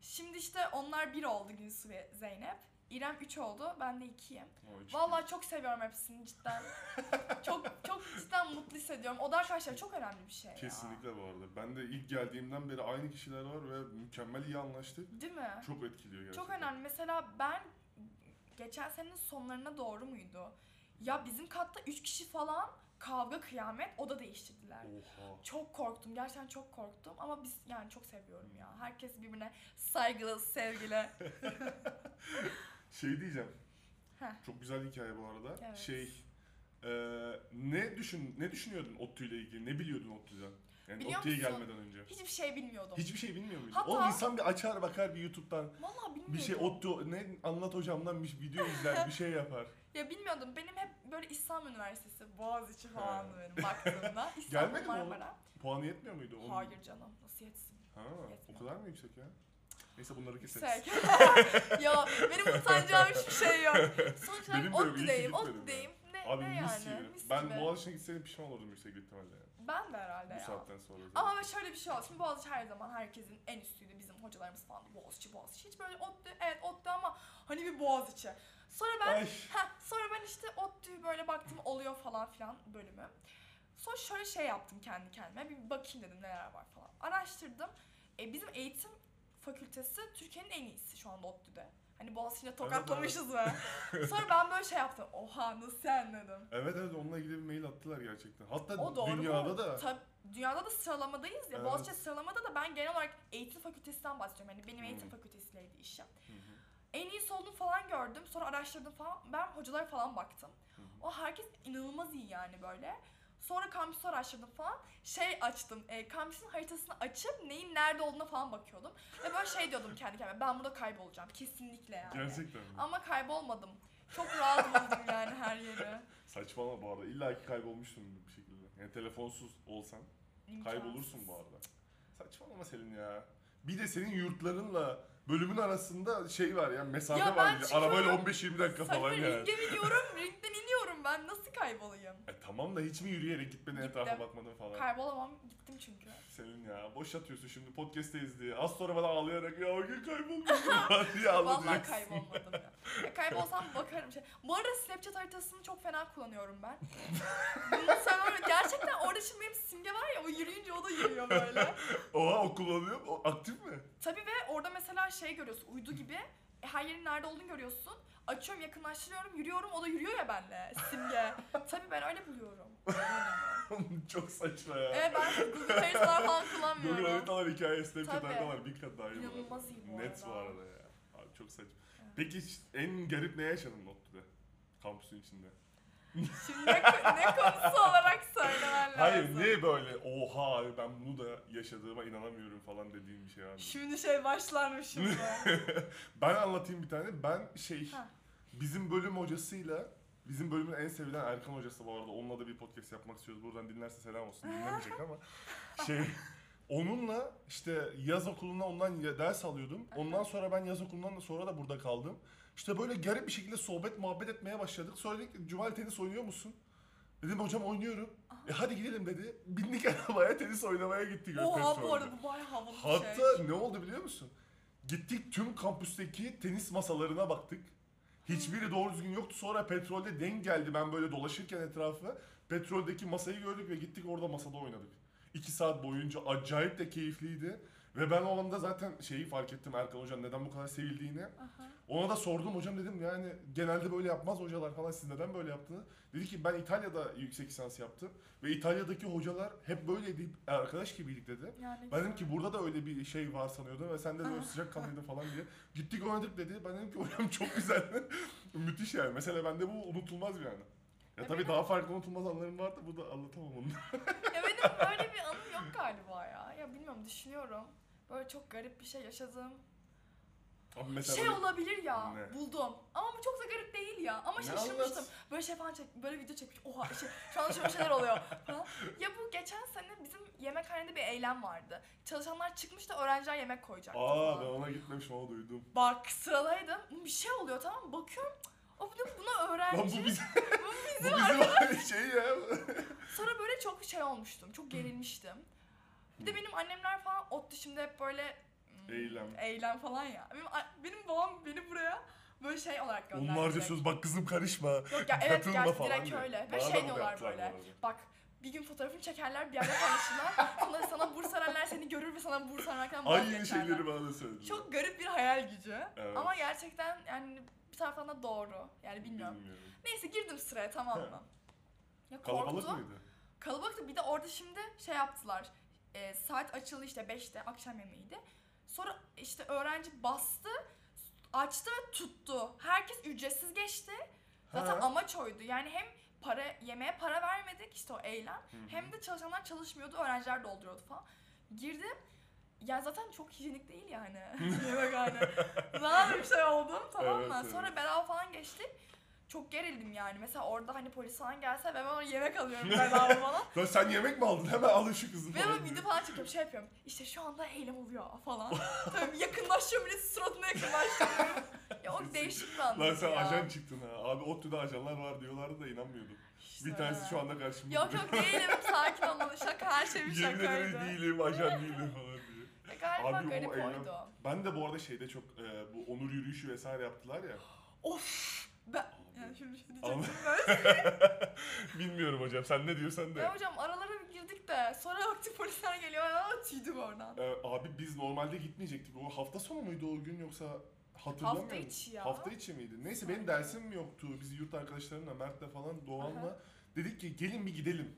S2: Şimdi işte onlar bir oldu Gülsü ve Zeynep. İrem 3 oldu. Ben de 2'yim.
S1: O üç
S2: Vallahi çok seviyorum
S1: <laughs>
S2: hepsini cidden. çok çok cidden mutlu hissediyorum. O da arkadaşlar çok önemli bir şey ya.
S1: Kesinlikle bu arada. Ben de ilk geldiğimden beri aynı kişiler var ve mükemmel iyi anlaştık.
S2: Değil mi?
S1: Çok etkiliyor gerçekten.
S2: Çok önemli. Mesela ben geçen senenin sonlarına doğru muydu? Ya bizim katta 3 kişi falan kavga kıyamet oda değiştirdiler.
S1: Oha.
S2: Çok korktum. Gerçekten çok korktum ama biz yani çok seviyorum ya. Herkes birbirine saygılı, sevgili.
S1: Şey diyeceğim.
S2: Heh.
S1: Çok güzel hikaye bu arada.
S2: Evet.
S1: Şey e, ne düşün ne düşünüyordun ODTÜ ile ilgili? Ne biliyordun ODTÜ'den? Yani
S2: Biliyor
S1: ODTÜ'ye
S2: musun?
S1: gelmeden önce.
S2: Hiçbir şey bilmiyordum.
S1: Hiçbir şey bilmiyor muydun?
S2: Hatta-
S1: Oğlum insan bir açar bakar bir YouTube'dan.
S2: Vallahi bilmiyordum.
S1: Bir şey ODTÜ ne anlat hocamdan bir video izler, bir şey
S2: <laughs>
S1: yapar.
S2: Ya bilmiyordum. Benim hep böyle İslam Üniversitesi, Boğaziçi
S1: Ha.
S2: falan benim baktığımda.
S1: <laughs>
S2: İstanbul,
S1: Gelmedi mi o?
S2: Marmara.
S1: Puanı yetmiyor muydu? Onun-
S2: Hayır canım. Nasıl yetsin?
S1: Ha, o
S2: Yetmiyor.
S1: kadar mı yüksek ya? Neyse bunları keseriz.
S2: Yüksek. <laughs> ya
S1: <laughs>
S2: Şey. benim utanacağım hiçbir şey yok. Sonuç
S1: Benim
S2: olarak
S1: de yok, iyi ki gitmedim
S2: ODTÜ'deyim, ODTÜ'deyim. Ne,
S1: Abi
S2: ne
S1: mis
S2: yani?
S1: gibi.
S2: Mis
S1: Ben
S2: gibi.
S1: Boğaziçi'ne gitseydim pişman olurdum yüksek ihtimalle. Yani.
S2: Ben de herhalde
S1: Bu
S2: ya.
S1: saatten sonra. zaten.
S2: Ama şöyle bir şey oldu. Şimdi Boğaziçi her zaman herkesin en üstüydü. Bizim hocalarımız falan da Boğaziçi, Boğaziçi. Hiç böyle ODTÜ, evet ODTÜ ama hani bir Boğaziçi. Sonra ben
S1: Ay.
S2: Heh, sonra ben işte ODTÜ böyle baktım oluyor falan filan bölümü. Sonra şöyle şey yaptım kendi kendime. Bir bakayım dedim neler var falan. Araştırdım. E, bizim eğitim fakültesi Türkiye'nin en iyisi şu anda ODTÜ'de. Hani Boğaziçi'ne tokatlamışız be.
S1: <laughs>
S2: Sonra ben böyle şey yaptım. Oha nasıl yani dedim.
S1: Evet evet onunla ilgili bir mail attılar gerçekten. Hatta
S2: O doğru
S1: dünyada
S2: mu?
S1: da.
S2: Tabii dünyada da sıralamadayız ya.
S1: Evet.
S2: Boğaziçi sıralamada da ben genel olarak eğitim fakültesinden bahsediyorum. Hani benim eğitim
S1: Hmm.
S2: fakültesiyleydi işim.
S1: Hı hı,
S2: En iyisi olduğunu falan gördüm. Sonra araştırdım falan. Ben hocalara falan baktım.
S1: hı hı.
S2: O herkes inanılmaz iyi yani böyle. Sonra kampüsü araştırdım falan. Şey açtım, e, kampüsün haritasını açıp neyin nerede olduğuna falan bakıyordum. Ve böyle şey diyordum kendi kendime, ben burada kaybolacağım kesinlikle yani.
S1: Gerçekten mi?
S2: Ama kaybolmadım. Çok rahat buldum yani her yeri.
S1: Saçmalama bu arada. İlla ki kaybolmuşsun bir şekilde. Yani telefonsuz olsan kaybolursun
S2: İmkansız.
S1: bu arada. Saçmalama Selin ya. Bir de senin yurtlarınla bölümün arasında şey var ya mesafe
S2: Ya
S1: var.
S2: ben
S1: bile.
S2: çıkıyorum.
S1: Arabayla 15-20 dakika falan
S2: Saçma
S1: yani.
S2: ringe biniyorum, ringden iniyorum ben. Nasıl kaybolayım?
S1: E tamam da hiç mi yürüyerek gitmedin etrafa
S2: Gittim.
S1: bakmadın falan.
S2: Kaybolamam, gittim çünkü.
S1: Selin ya boş atıyorsun şimdi podcast'teyiz diye. Az sonra bana ağlayarak ya o gün kaybolmuşum <laughs> falan diye
S2: Vallahi
S1: ağlayacaksın.
S2: kaybolmadım ya. ya. Kaybolsam bakarım. Şey. Bu arada Snapchat haritasını çok fena kullanıyorum
S1: <laughs>
S2: ben. Bunu söylüyorum. Gerçekten orada şimdi benim simge var ya o yürüyünce o da yürüyor böyle.
S1: Oha o kullanıyor mu? O aktif mi? <laughs>
S2: Tabii ve orada mesela şey görüyorsun uydu gibi. E, Her yerin nerede olduğunu görüyorsun. Açıyorum yakınlaştırıyorum yürüyorum o da yürüyor ya benle simge. Tabii ben öyle buluyorum.
S1: Çok saçma ya.
S2: Evet ben Google haritalar falan
S1: Google
S2: kullanmıyorum.
S1: haritalar hikayesi Snapchat
S2: Tabii.
S1: haritalar bir kat daha iyi. bu arada.
S2: İnanılmaz iyi bu
S1: Net bu
S2: arada.
S1: arada ya. Abi çok saçma.
S2: Evet.
S1: Peki en garip ne yaşadın Notlu'da? Kampüsün içinde.
S2: Şimdi ne, ne konusu olarak söylemen lazım.
S1: Hayır niye böyle oha abi ben bunu da yaşadığıma inanamıyorum falan dediğim bir şey var mı?
S2: Şimdi şey başlarmış şimdi.
S1: <laughs> Ben anlatayım bir tane. Ben şey
S2: Ha.
S1: bizim bölüm hocasıyla bizim bölümün en sevilen Erkan hocası bu arada. Onunla da bir podcast yapmak istiyoruz. Buradan dinlerse selam olsun. Dinlemeyecek
S2: <laughs>
S1: ama şey onunla işte yaz okuluna ondan ya- ders alıyordum. Ondan sonra ben yaz okulundan da sonra da burada kaldım. İşte böyle garip bir şekilde sohbet muhabbet etmeye başladık. Sonra dedik ki, Cumali tenis oynuyor musun? Dedim hocam oynuyorum. E hadi gidelim dedi. Bindik arabaya tenis oynamaya gittik.
S2: Oha
S1: Öztepe'ye
S2: bu arada
S1: oynadık.
S2: bu bayağı havalı bir şey.
S1: Hatta ne oldu biliyor musun? Gittik tüm kampüsteki tenis masalarına baktık. Hiçbiri doğru düzgün yoktu. Sonra petrolde denk geldi. Ben böyle dolaşırken etrafı petroldeki masayı gördük ve gittik orada masada oynadık. İki saat boyunca acayip de keyifliydi. Ve ben o anda zaten şeyi fark ettim Erkan Hoca'nın neden bu kadar sevildiğini.
S2: Aha.
S1: Ona da sordum hocam dedim yani genelde böyle yapmaz hocalar falan siz neden böyle yaptınız? Dedi ki ben İtalya'da yüksek lisans yaptım ve İtalya'daki hocalar hep böyleydi arkadaş gibiydik dedi.
S2: Yani
S1: Ben dedim ki burada da öyle bir şey var sanıyordum ve sen de böyle sıcak kanlıydın falan diye. Gittik oynadık dedi. Ben dedim ki hocam çok güzel. <laughs> Müthiş yani. Mesela bende bu unutulmaz bir yani. Ya
S2: E
S1: tabii
S2: benim-
S1: daha farklı unutulmaz anlarım vardı. Bu da anlatamam onu. <laughs>
S2: ya benim böyle bir anım yok galiba ya. Ya bilmiyorum düşünüyorum. Böyle çok garip bir şey yaşadığım.
S1: Abi mesela
S2: şey
S1: böyle-
S2: olabilir ya.
S1: Ne?
S2: Buldum. Ama bu çok da garip değil ya. Ama
S1: Ne
S2: şaşırmıştım.
S1: anlat?
S2: Böyle şey falan çek, böyle video çekmiş. Oha şey, şu an şöyle şeyler oluyor. falan. Ya bu geçen sene bizim yemekhanede bir eylem vardı. Çalışanlar çıkmış da öğrenciler yemek koyacaktı.
S1: Aa
S2: falan.
S1: ben ona gitmemişim ama duydum.
S2: Bak sıradaydım. Bir şey oluyor tamam mı? Bakıyorum. O bir de buna öğrenci.
S1: Lan bu bizim,
S2: Bu
S1: <laughs> bu bizim şey
S2: <laughs>
S1: ya.
S2: Sonra böyle çok şey olmuştum. Çok gerilmiştim. Bir de benim annemler falan ottu şimdi hep böyle hmm,
S1: Eylem.
S2: eylem falan ya. Benim, a- benim babam beni buraya böyle şey olarak gönderdi.
S1: Onlarca
S2: direkt.
S1: söz bak kızım karışma.
S2: Yok ya evet
S1: Katılma
S2: gerçi
S1: falan
S2: direkt
S1: diye.
S2: öyle. Ve
S1: Bana da
S2: şey
S1: bunu
S2: diyorlar
S1: yaptılar bu
S2: böyle.
S1: arada.
S2: Bak bir gün fotoğrafını çekerler bir yerde paylaşırlar. Sonra sana burs verenler seni görür ve sana burs vermekten
S1: Aynı
S2: vazgeçerler.
S1: şeyleri bana da söylediler.
S2: Çok garip bir hayal gücü.
S1: Evet.
S2: Ama gerçekten yani bir taraftan da doğru. Yani bilmiyorum. Neyse girdim sıraya tamam
S1: <laughs>
S2: mı? Ya
S1: Kalabalık
S2: korktum.
S1: mıydı?
S2: Kalabalıktı. Bir de orada şimdi şey yaptılar. E, saat açıldı işte 5'te akşam yemeğiydi. Sonra işte öğrenci bastı, açtı ve tuttu. Herkes ücretsiz geçti. Zaten
S1: Ha.
S2: amaç oydu. Yani hem para yemeğe para vermedik işte o eylem.
S1: Hı hı.
S2: Hem de çalışanlar çalışmıyordu, öğrenciler dolduruyordu falan. Girdim. Ya zaten çok hijyenik değil yani.
S1: <laughs>
S2: Yemek hani. Daha bir şey oldum tamam mı?
S1: Evet, evet.
S2: Sonra bedava falan geçtik. Çok gerildim yani. Mesela orada hani polis falan gelse ve ben ona yemek
S1: <laughs>
S2: alıyorum bedava falan.
S1: Lan sen yemek mi aldın? Hemen alın şu kızı
S2: Ve
S1: falan
S2: ben
S1: diye.
S2: video falan çekiyorum şey yapıyorum. İşte şu anda eylem oluyor falan. Tabii yakınlaşıyorum bile suratına yakınlaşıyorum. ya o değişik bir anlamda
S1: Lan sen
S2: ya.
S1: ajan çıktın ha. Abi ODTÜ'de ajanlar var diyorlardı da inanmıyordum.
S2: İşte.
S1: Bir tanesi şu anda karşımda.
S2: Yok yok değilim sakin olun şaka her şey
S1: <laughs>
S2: bir
S1: Yemin ederim
S2: şakaydı.
S1: değilim, ajan değilim falan diye.
S2: Ya galiba
S1: Abi o
S2: garip
S1: eylem-
S2: oydu.
S1: Ben de bu arada şeyde çok e, bu onur yürüyüşü vesaire yaptılar ya.
S2: Of ben yani şimdi bir şey diyecektim
S1: <laughs> Bilmiyorum hocam sen ne diyorsan
S2: ben.
S1: de.
S2: ya hocam aralara bir girdik de sonra artık polisler geliyor. Aa, tüydüm oradan.
S1: E, abi biz normalde gitmeyecektik. O hafta sonu muydu o gün yoksa hatırlamıyorum.
S2: Hafta içi ya.
S1: Hafta içi miydi? Neyse benim dersim yoktu. Biz yurt arkadaşlarımla Mert'le falan Doğan'la
S2: Aha.
S1: dedik ki gelin bir gidelim.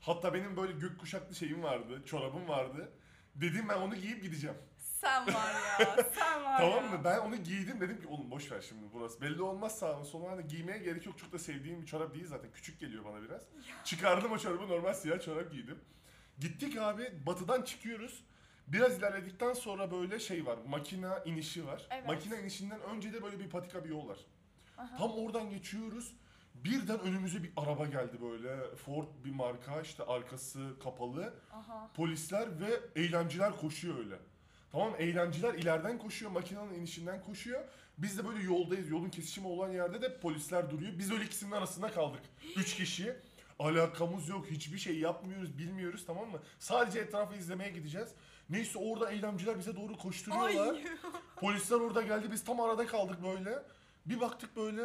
S1: Hatta benim böyle gök kuşaklı şeyim vardı, çorabım vardı. Dedim ben onu giyip gideceğim.
S2: Sen var ya
S1: <laughs>
S2: sen var ya.
S1: Tamam mı? Ben onu giydim dedim ki oğlum boş ver şimdi burası. Belli olmaz sağını solunu hani giymeye gerek yok. Çok da sevdiğim bir çorap değil zaten. Küçük geliyor bana biraz. Çıkardım o çorabı normal siyah çorap giydim. Gittik abi batıdan çıkıyoruz. Biraz ilerledikten sonra böyle şey var. Makina inişi var.
S2: Evet.
S1: Makina inişinden önce de böyle bir patika bir yol var.
S2: Aha.
S1: Tam oradan geçiyoruz. Birden önümüze bir araba geldi böyle. Ford bir marka işte arkası kapalı.
S2: Aha.
S1: Polisler ve eylemciler koşuyor öyle. Tamam eylemciler ileriden koşuyor, makinenin inişinden koşuyor. Biz de böyle yoldayız. Yolun kesişimi olan yerde de polisler duruyor. Biz öyle ikisinin arasında kaldık. Üç kişi. Alakamız yok. Hiçbir şey yapmıyoruz, bilmiyoruz tamam mı? Sadece etrafı izlemeye gideceğiz. Neyse orada eylemciler bize doğru koşturuyorlar.
S2: Ay.
S1: Polisler orada geldi biz tam arada kaldık böyle. Bir baktık böyle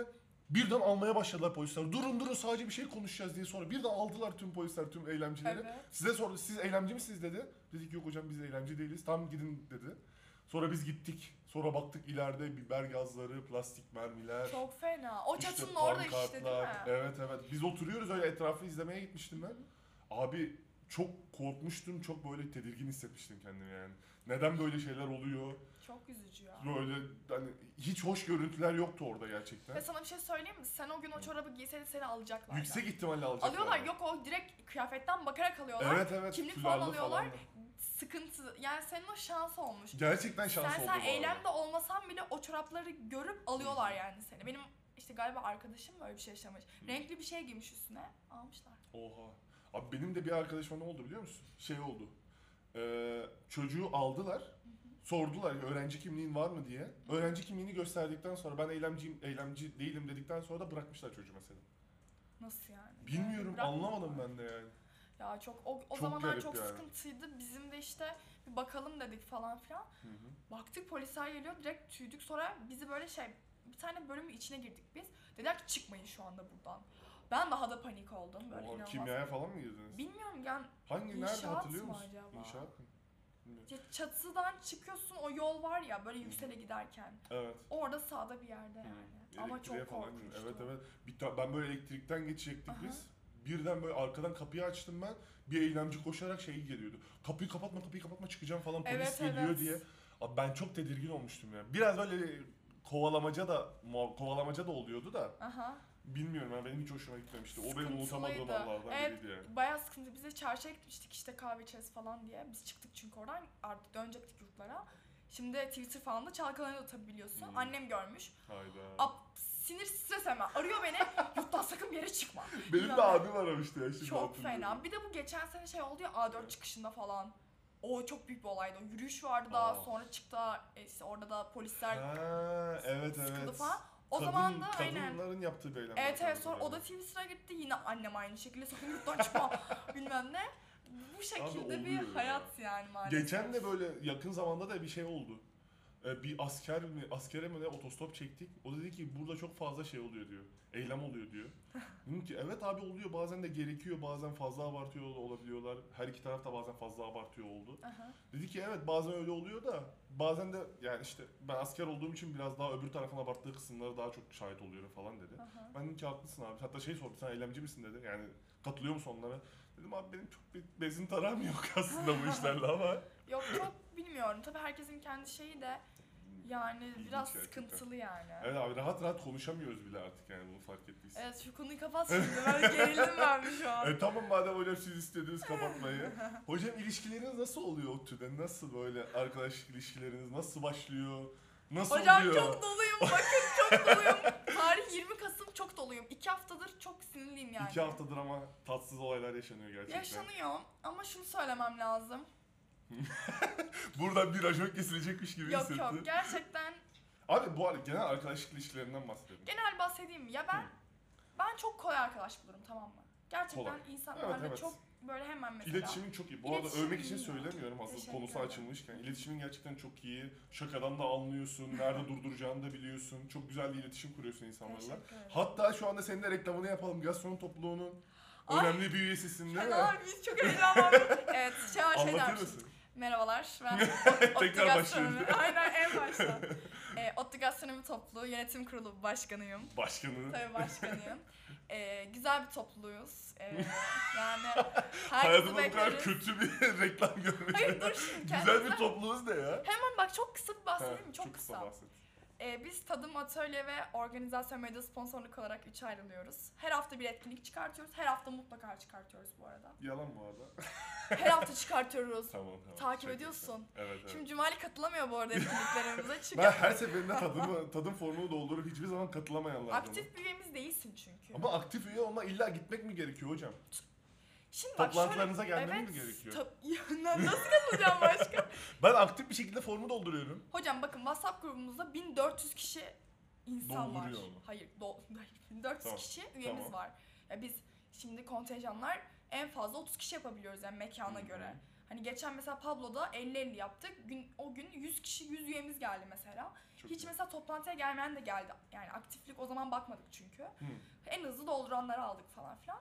S1: birden almaya başladılar polisler. Durun durun sadece bir şey konuşacağız diye sonra birden aldılar tüm polisler tüm eylemcileri.
S2: <laughs> Evet.
S1: Size sordu siz eylemci misiniz dedi. Dedik yok hocam biz eylemci değiliz tam gidin dedi. Sonra biz gittik. Sonra baktık ileride biber gazları, plastik mermiler.
S2: Çok fena. O
S1: işte
S2: çatının orada işte değil mi?
S1: pankartlar. Evet evet. Biz oturuyoruz öyle etrafı izlemeye gitmiştim ben. Abi çok korkmuştum, çok böyle tedirgin hissetmiştim kendimi yani. Neden böyle şeyler oluyor?
S2: Çok üzücü ya.
S1: Böyle hani hiç hoş görüntüler yoktu orada
S2: Ve
S1: gerçekten.
S2: sana bir şey söyleyeyim mi? Sen o gün o çorabı giyseydin seni alacaklar.
S1: Yüksek ihtimalle alacaklar.
S2: Alıyorlar yok o direkt kıyafetten bakarak alıyorlar.
S1: Evet evet.
S2: Kimlik
S1: full
S2: falan
S1: aldı
S2: alıyorlar.
S1: da.
S2: Sıkıntı yani senin o şans olmuş.
S1: Gerçekten şans
S2: sen
S1: oldu
S2: sen
S1: bu arada.
S2: eylemde olmasan bile o çorapları görüp alıyorlar yani seni. Benim işte galiba arkadaşım böyle bir şey yaşamış. Renkli bir şey giymiş üstüne almışlar.
S1: Oha. Abi benim de bir arkadaşıma ne oldu biliyor musun? Şey oldu. Ee, çocuğu aldılar. Sordular ya, öğrenci kimliğin var mı diye. Öğrenci kimliğini gösterdikten sonra ben eylemciyim, eylemci değilim dedikten sonra da bırakmışlar çocuğu mesela.
S2: Nasıl yani?
S1: Bilmiyorum
S2: Yani bırak-
S1: anlamadım ben de yani.
S2: Ya çok o, o
S1: Çok
S2: zamanlar
S1: garip
S2: çok
S1: yani.
S2: sıkıntıydı. Bizim de işte bir bakalım dedik falan filan.
S1: Hı hı.
S2: Baktık polisler geliyor direkt tüydük sonra bizi böyle şey bir tane bölümün içine girdik biz. Dediler ki çıkmayın şu anda buradan. Ben daha da panik oldum böyle
S1: Oha,
S2: inanılmaz.
S1: kimyaya falan mı girdiniz?
S2: Bilmiyorum yani
S1: Hangi
S2: İnşaat
S1: nerede hatırlıyor
S2: mı
S1: musun?
S2: acaba?
S1: İnşaat mı? Bilmiyorum.
S2: ya çatıdan çıkıyorsun o yol var ya
S1: Hmm.
S2: böyle yüksele giderken.
S1: Evet.
S2: Orada sağda bir yerde yani.
S1: Hı.
S2: Ama
S1: Elektriğe
S2: çok
S1: Hmm. falan girdim.
S2: korkunçtu.
S1: Evet evet. Bir ta- ben böyle elektrikten geçecektik
S2: Aha.
S1: biz. Birden böyle arkadan kapıyı açtım ben. Bir eylemci koşarak şey geliyordu. Kapıyı kapatma, kapıyı kapatma çıkacağım falan polis
S2: Evet,
S1: geliyor
S2: evet.
S1: diye. Abi ben çok tedirgin olmuştum ya. Biraz böyle kovalamaca da muha- kovalamaca da oluyordu da
S2: Aha.
S1: bilmiyorum ya benim hiç hoşuma gitmemişti. O benim
S2: Sıkıntılıydı.
S1: unutamadığım anlardan
S2: Evet.
S1: biriydi yani.
S2: Bayağı sıkıntı. Biz de çarşıya gitmiştik işte kahve içeriz falan diye. Biz çıktık çünkü oradan artık dönecektik yurtlara. Şimdi Twitter falan da çalkalanıyor tabii biliyorsun.
S1: Hmm.
S2: Annem görmüş.
S1: Hayda.
S2: Ab, sinir stres hemen.
S1: <laughs>
S2: Arıyor beni. Yurttan sakın bir yere çıkma.
S1: benim de
S2: inanamam.
S1: abim aramıştı ya şimdi
S2: çok
S1: hatırlıyorum.
S2: fena. Bir de bu geçen sene şey oldu ya A4
S1: Evet.
S2: çıkışında falan. O çok büyük bir olaydı. O yürüyüş vardı daha
S1: Aa.
S2: sonra çıktı. e, işte orada da polisler
S1: Ha, evet
S2: sıkıldı
S1: evet.
S2: falan. O
S1: Kadın-
S2: zaman da aynen.
S1: Kadınların yaptığı bir eylem.
S2: Evet evet
S1: vardı
S2: sonra
S1: orada.
S2: o da Twitter'a gitti yine annem aynı şekilde sakın yurttan çıkma <laughs> bilmem ne. Bu şekilde
S1: oluyor
S2: bir
S1: ya.
S2: hayat yani maalesef.
S1: Geçen de böyle yakın zamanda da bir şey oldu. Ee, bir asker mi, askere mi ne otostop çektik. O dedi ki burada çok fazla şey oluyor diyor. Eylem oluyor
S2: <laughs>
S1: diyor. Dedim ki evet abi oluyor bazen de gerekiyor bazen fazla abartıyor ol- olabiliyorlar. Her iki taraf da bazen fazla abartıyor oldu.
S2: Aha.
S1: Dedi ki evet bazen öyle oluyor da bazen de yani işte ben asker olduğum için biraz daha öbür tarafın abarttığı kısımlara daha çok şahit oluyorum falan dedi.
S2: aha.
S1: Ben dedim ki haklısın abi. Hatta şey sordu sen eylemci misin dedi. Yani katılıyor musun onlara? Dedim abi benim çok bir bezin taram yok aslında
S2: <laughs>
S1: bu işlerle ama.
S2: Yok çok bilmiyorum tabii herkesin kendi şeyi de yani
S1: İlginç
S2: biraz
S1: gerçekten.
S2: sıkıntılı yani. Evet.
S1: Evet abi rahat rahat konuşamıyoruz bile artık yani bunu fark ettiysen.
S2: şu konuyu kapat şimdi ben gerildim ben bir
S1: <laughs>
S2: şu an.
S1: E, tamam madem hocam siz istediniz
S2: <laughs>
S1: kapatmayı. hocam ilişkileriniz nasıl oluyor ODTÜ'de? Nasıl böyle arkadaşlık ilişkileriniz nasıl başlıyor? Nasıl
S2: Hocam
S1: oluyor?
S2: çok doluyum bakın çok doluyum. Tarih 20 Kasım çok doluyum. 2 haftadır çok sinirliyim yani.
S1: İki haftadır ama tatsız olaylar yaşanıyor gerçekten.
S2: Yaşanıyor ama şunu söylemem lazım.
S1: <laughs> Buradan bir rajok kesilecekmiş gibi
S2: Yok
S1: hissettim. <laughs>
S2: yok gerçekten
S1: Abi bu arada genel arkadaşlık ilişkilerinden bahsedelim.
S2: Genel bahsedeyim mi? ya ben
S1: Hı.
S2: ben çok kolay arkadaş bulurum tamam mı? Gerçekten
S1: Kolay.
S2: insanlarla
S1: Evet, evet.
S2: çok böyle hemen mesela.
S1: İletişimin çok iyi. Bu
S2: İletişim
S1: arada övmek için
S2: iyi ya.
S1: söylemiyorum hazır
S2: Teşekkür
S1: konusu
S2: ederim.
S1: açılmışken. İletişimin gerçekten çok iyi. Şakadan da anlıyorsun. Nerede durduracağını da biliyorsun. Çok güzel bir iletişim kuruyorsun insanlarla.
S2: Teşekkür ederim.
S1: Hatta şu anda senin de reklamını yapalım. Gastronom topluluğunun
S2: Ay,
S1: önemli bir üyesisin değil mi?
S2: Fena biz çok heyecanlandık. evet şey var şey
S1: Anlatır
S2: dermişim.
S1: mısın?
S2: Merhabalar
S1: <laughs>
S2: ben Otlu
S1: Tekrar başlayalım.
S2: Gastronomi. <laughs> Aynen
S1: <laughs>
S2: en baştan. E, Otlu Gastronomi Topluluğu Yönetim Kurulu Başkanıyım.
S1: Başkanını.
S2: Tabii başkanıyım. E, güzel bir topluluğuz. E,
S1: <laughs>
S2: yani herkesi
S1: Hayatımda bu kadar
S2: bekleriz.
S1: kötü bir <laughs> reklam görmedim.
S2: Hayır dur şimdi
S1: Güzel
S2: kendimize.
S1: bir topluluğunuz ne ya?
S2: Hemen bak çok kısa bir bahsedeyim mi?
S1: Ha,
S2: Çok, kısa.
S1: bahset.
S2: Ee, biz Tadım Atölye ve Organizasyon Medya Sponsorluk olarak üçe ayrılıyoruz. Her hafta bir etkinlik çıkartıyoruz. Her hafta mutlaka çıkartıyoruz bu arada.
S1: Yalan bu arada.
S2: Her hafta
S1: <laughs>
S2: çıkartıyoruz.
S1: tamam tamam.
S2: Takip
S1: Şaka
S2: ediyorsun.
S1: yapıyorum. Evet evet.
S2: Şimdi Cumali katılamıyor bu
S1: <laughs>
S2: arada etkinliklerimize çünkü
S1: ben her
S2: <laughs>
S1: seferinde tadımı, tadım formunu doldurup hiçbir zaman katılamayanlardanım.
S2: aktif bir üyemiz değilsin çünkü.
S1: Ama aktif üye olma illa gitmek mi gerekiyor hocam?
S2: Şimdi bak
S1: Toplantılarınıza
S2: şöyle,
S1: gelmem
S2: evet,
S1: mi gerekiyor?
S2: tab- <laughs> Ya lan nasıl katılacağım başka? <laughs>
S1: Ben aktif bir şekilde formu dolduruyorum.
S2: Hocam bakın WhatsApp grubumuzda 1400 kişi insan var.
S1: Dolduruyor mu?
S2: Hayır, do- hayır, 1400
S1: Tamam,
S2: kişi üyemiz
S1: tamam.
S2: var. Ya biz şimdi kontenjanlar en fazla 30 kişi yapabiliyoruz yani mekana
S1: Hı hı.
S2: göre. Hani geçen mesela Pablo'da 50-50 yaptık. Gün, o gün 100 kişi 100 üyemiz geldi mesela.
S1: Çok
S2: Hiç
S1: iyi.
S2: mesela toplantıya gelmeyen de geldi. Yani aktiflik o zaman bakmadık çünkü.
S1: Hı.
S2: En hızlı dolduranları aldık falan filan.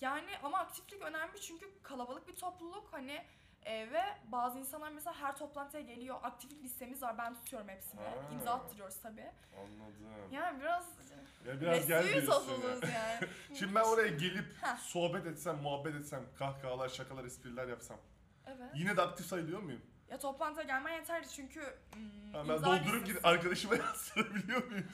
S2: Yani ama aktiflik önemli çünkü kalabalık bir topluluk hani e, ve bazı insanlar mesela her toplantıya geliyor. Aktiflik listemiz var ben tutuyorum hepsini.
S1: Ha.
S2: İmza attırıyoruz tabii.
S1: Anladım.
S2: Yani biraz
S1: Ya biraz gel
S2: resmi
S1: diyorsun ya.
S2: sosuluz yani.
S1: <laughs> Şimdi ben oraya gelip
S2: Heh.
S1: sohbet etsem, muhabbet etsem, kahkahalar, şakalar, espriler yapsam.
S2: Evet.
S1: Yine de aktif sayılıyor muyum?
S2: Ya toplantıya gelmen yeterli çünkü hmm,
S1: Ha, ben
S2: imza
S1: doldurup
S2: listesi-
S1: gidip arkadaşıma <laughs> yazdırabiliyor muyum?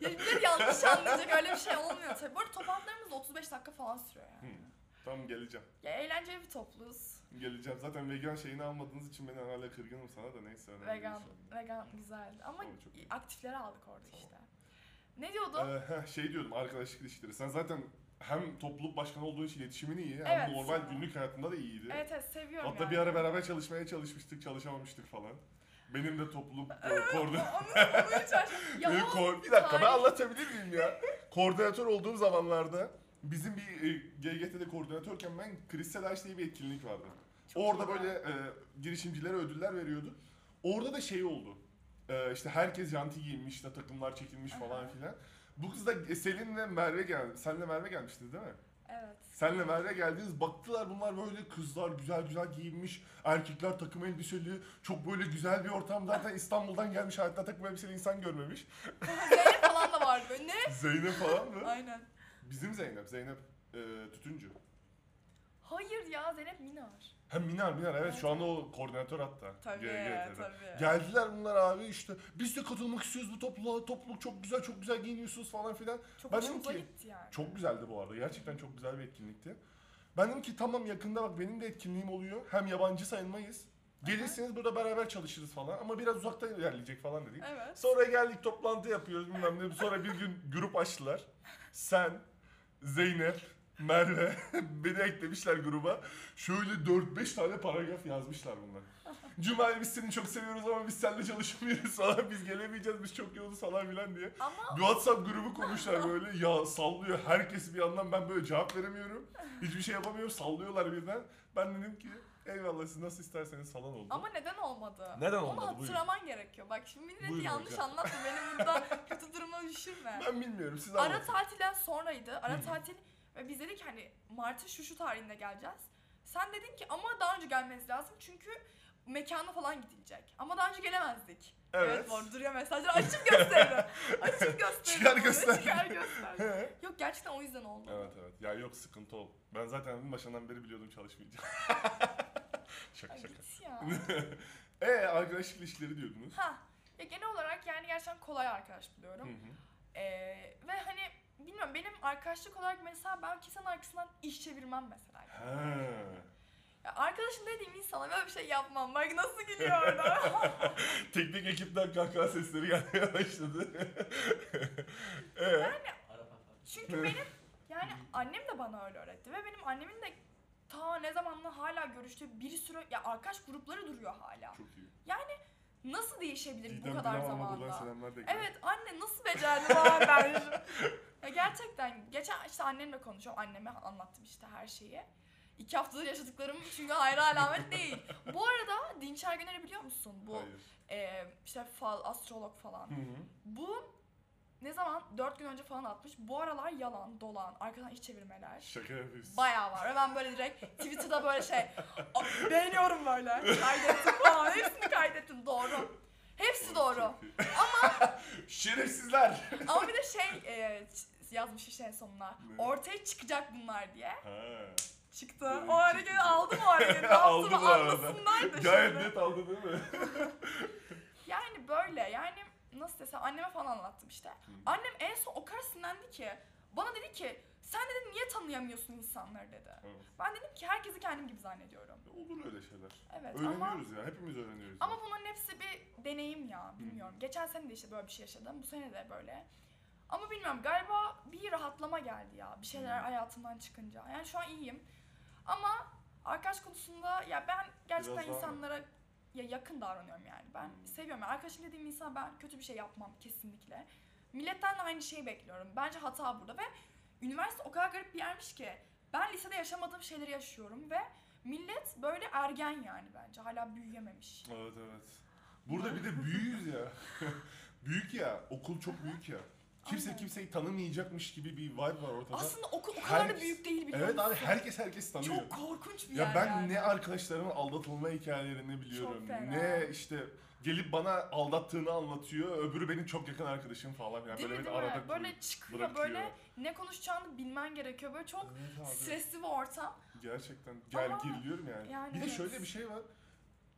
S2: Ya bir yanlış anlayacak öyle bir şey olmuyor tabii. Bu arada toplantılarımız da 35 dakika falan sürüyor yani.
S1: Hı. Tamam geleceğim.
S2: Ya eğlenceli bir topluluğuz.
S1: Geleceğim. Zaten vegan şeyini almadığınız için ben hala kırgınım sana da neyse. önemli değil
S2: Vegan,
S1: şu anda.
S2: vegan güzeldi ama
S1: şey Ama çok iyi.
S2: aktifleri aldık orada
S1: Tamam.
S2: işte. Ne diyordun?
S1: Ee, heh, şey diyordum arkadaşlık ilişkileri. Sen zaten hem topluluk başkanı olduğu için iletişimin iyi hem
S2: Evet.
S1: normal günlük hayatında da iyiydi.
S2: evet evet seviyorum
S1: Hatta
S2: yani.
S1: bir ara beraber çalışmaya çalışmıştık, çalışamamıştık falan. Benim de topluluk e, koordinatör...
S2: <laughs> Onu, onu hiç aç- Ya
S1: Benim
S2: o
S1: ko- bir dakika ben
S2: tarih-
S1: anlatabilir miyim ya? koordinatör olduğum zamanlarda bizim bir e, GGT'de koordinatörken ben Kristal Aç diye bir etkinlik vardı.
S2: Çok
S1: Orada
S2: iyi
S1: böyle
S2: ya.
S1: e, girişimcilere ödüller veriyordu. Orada da şey oldu. E, işte herkes janti giyinmiş, işte takımlar çekilmiş
S2: Aha.
S1: falan filan. Bu kız da e, Selin'le Merve geldi. Senle Merve gelmişti değil mi?
S2: Evet.
S1: Senle Merve geldiniz baktılar bunlar böyle kızlar güzel güzel giyinmiş, erkekler takım elbiseli, çok böyle güzel bir ortam. Zaten İstanbul'dan gelmiş hayatta takım elbiseli insan görmemiş.
S2: Zeynep Şey falan da vardı böyle. Ne?
S1: Zeynep falan mı?
S2: Aynen.
S1: Bizim Zeynep, Zeynep e, Tütüncü.
S2: Hayır ya Zeynep Minar.
S1: Hem Minar Minar evet şu anda o koordinatör hatta.
S2: Tabii
S1: GGT'de.
S2: tabii.
S1: Geldiler bunlar abi işte biz de katılmak istiyoruz bu topluluğa, topluluk çok güzel, çok güzel giyiniyorsunuz falan filan.
S2: Çok
S1: Ben
S2: hoşumuza
S1: dedim ki,
S2: gitti yani.
S1: Çok güzeldi bu arada. Gerçekten çok güzel bir etkinlikti. Ben dedim ki tamam yakında bak benim de etkinliğim oluyor. Hem yabancı sayılmayız. Gelirseniz burada beraber çalışırız falan ama biraz uzaktan ilerleyecek falan dedik.
S2: Evet.
S1: Sonra geldik toplantı yapıyoruz bilmem ne. Sonra bir gün grup açtılar. Sen, Zeynep, Merve <laughs> beni eklemişler gruba. Şöyle 4-5 tane paragraf yazmışlar bunlar. Cumali biz seni çok seviyoruz ama biz seninle çalışamıyoruz falan. Biz gelemeyeceğiz biz çok yoğunuz falan filan diye.
S2: Ama
S1: Bir WhatsApp grubu kurmuşlar böyle ya sallıyor herkes bir yandan ben böyle cevap veremiyorum. Hiçbir şey yapamıyorum sallıyorlar birden. Ben dedim ki eyvallah siz nasıl isterseniz falan oldu.
S2: ama neden olmadı?
S1: Neden
S2: Onu
S1: olmadı? Buyurun.
S2: hatırlaman gerekiyor. Bak şimdi milleti
S1: Buyurun
S2: yanlış
S1: hocam.
S2: anlatma.
S1: <laughs>
S2: Beni burada kötü duruma düşürme.
S1: Ben bilmiyorum siz
S2: Ara
S1: anlatın.
S2: tatilden sonraydı. Ara
S1: Hı.
S2: tatil ve biz dedik hani Mart'ın şu şu tarihinde geleceğiz. Sen dedin ki ama daha önce gelmeniz lazım çünkü mekana falan gidilecek. Ama daha önce gelemezdik.
S1: Evet.
S2: bu arada duruyor mesajlar açıp
S1: <laughs>
S2: gösterdim. açıp gösterdim.
S1: Çıkar
S2: bunu,
S1: göster.
S2: Çıkar göster.
S1: He.
S2: Yok gerçekten o yüzden oldu.
S1: evet evet ya yok sıkıntı ol. Ben zaten en başından beri biliyordum
S2: <laughs>
S1: çalışmayacağım. şaka
S2: Ay
S1: şaka.
S2: git ya.
S1: <laughs> Eee arkadaşlık ilişkileri diyordunuz.
S2: ha. Ya genel olarak yani gerçekten kolay arkadaş
S1: Hı
S2: buluyorum.
S1: hı.
S2: Ee, ve hani bilmiyorum benim arkadaşlık olarak mesela ben kimsenin arkasından iş çevirmem mesela.
S1: He.
S2: Ya arkadaşım dediğim insana böyle bir şey yapmam. Bak nasıl
S1: <laughs>
S2: gülüyor orada.
S1: Teknik ekipten kahkaha sesleri gelmeye
S2: <laughs>
S1: başladı. Eee?
S2: Çünkü benim yani annem de bana öyle öğretti ve benim annemin de ta ne zamanla hala görüştüğü bir sürü ya arkadaş grupları duruyor hala.
S1: Çok iyi.
S2: Nasıl değişebilir
S1: Didem
S2: bu kadar
S1: Gülen ama buradan
S2: zamanda?
S1: selamlar da ekleyelim.
S2: Evet anne nasıl becerdi var ben. ya gerçekten geçen işte annemle konuşuyorum. Anneme anlattım işte her şeyi. İki haftadır yaşadıklarım çünkü hayra alamet değil. Bu arada Dinçer Güner'i biliyor musun? Bu
S1: Hayır.
S2: e, işte fal, astrolog falan.
S1: Hı hı.
S2: Bu ne zaman? Dört gün önce falan atmış. Bu aralar yalan, dolan, arkadan iş çevirmeler.
S1: Şaka yapıyorsun.
S2: Bayağı var. Ve ben böyle direkt Twitter'da böyle şey "A- beğeniyorum böyle. Kaydettim falan. Hepsini kaydettim. Doğru. Hepsi doğru.
S1: <laughs>
S2: <laughs>
S1: Şerefsizler.
S2: Ama bir de şey e, ç- yazmış işte en sonuna.
S1: Ne?
S2: Ortaya çıkacak bunlar diye.
S1: Ha.
S2: Çıktı.
S1: Evet,
S2: O hareketi
S1: çıktı.
S2: aldım
S1: <laughs>
S2: o hareketi.
S1: Aldı
S2: Aldım
S1: bu arada.
S2: Anlasınlar da
S1: Gayet
S2: şimdi.
S1: net aldı değil mi?
S2: Yani böyle yani nasıl nasıl desem anneme falan anlattım işte. Annem en son o kadar sinirlendi ki bana dedi ki sen dedi niye tanıyamıyorsun insanları dedi.
S1: Evet.
S2: Ben dedim ki herkesi kendim gibi zannediyorum.
S1: <laughs> Olur öyle şeyler.
S2: Evet ama
S1: öğreniyoruz ya. Hepimiz öğreniyoruz.
S2: ama bunların hepsi bir deneyim ya bilmiyorum. Geçen sene de işte böyle bir şey yaşadım. Bu sene de böyle. Ama bilmiyorum galiba bir rahatlama geldi ya. Bir şeyler
S1: Hı.
S2: hayatımdan çıkınca. Yani şu an iyiyim. Ama arkadaş konusunda ya ben gerçekten
S1: Biraz daha-
S2: insanlara ya yakın davranıyorum yani. Ben
S1: Hı.
S2: seviyorum. Yani arkadaşım dediğim insan ben kötü bir şey yapmam kesinlikle. Milletten de aynı şeyi bekliyorum. Bence hata burada ve üniversite o kadar garip bir yermiş ki ben lisede yaşamadığım şeyleri yaşıyorum ve millet böyle ergen yani bence. Hala büyüyememiş.
S1: Evet evet. Burada bir de büyüyüz ya. <laughs> büyük ya. Okul çok büyük ya. Kimse
S2: Aynen.
S1: kimseyi tanımayacakmış gibi bir vibe var ortada.
S2: Aslında o, o kadar da
S1: Herkes-
S2: büyük değil biliyor
S1: evet abi
S2: musun?
S1: herkes herkes tanıyor.
S2: Çok korkunç bir
S1: ya
S2: yer
S1: ben
S2: yani.
S1: ne arkadaşlarımın aldatılma hikayelerini biliyorum.
S2: fena.
S1: Ne işte gelip bana aldattığını anlatıyor. Öbürü benim çok yakın arkadaşım falan. Yani
S2: Değil
S1: böyle
S2: mi,
S1: bir
S2: değil mi?
S1: arada kurup
S2: Böyle çıkıyor
S1: bırakıyor.
S2: böyle ne konuşacağını bilmen gerekiyor. Böyle çok
S1: Evet abi.
S2: stresli bir ortam.
S1: Gerçekten ger
S2: Ama
S1: geriliyorum yani.
S2: yani
S1: bir de
S2: evet.
S1: şöyle bir şey var.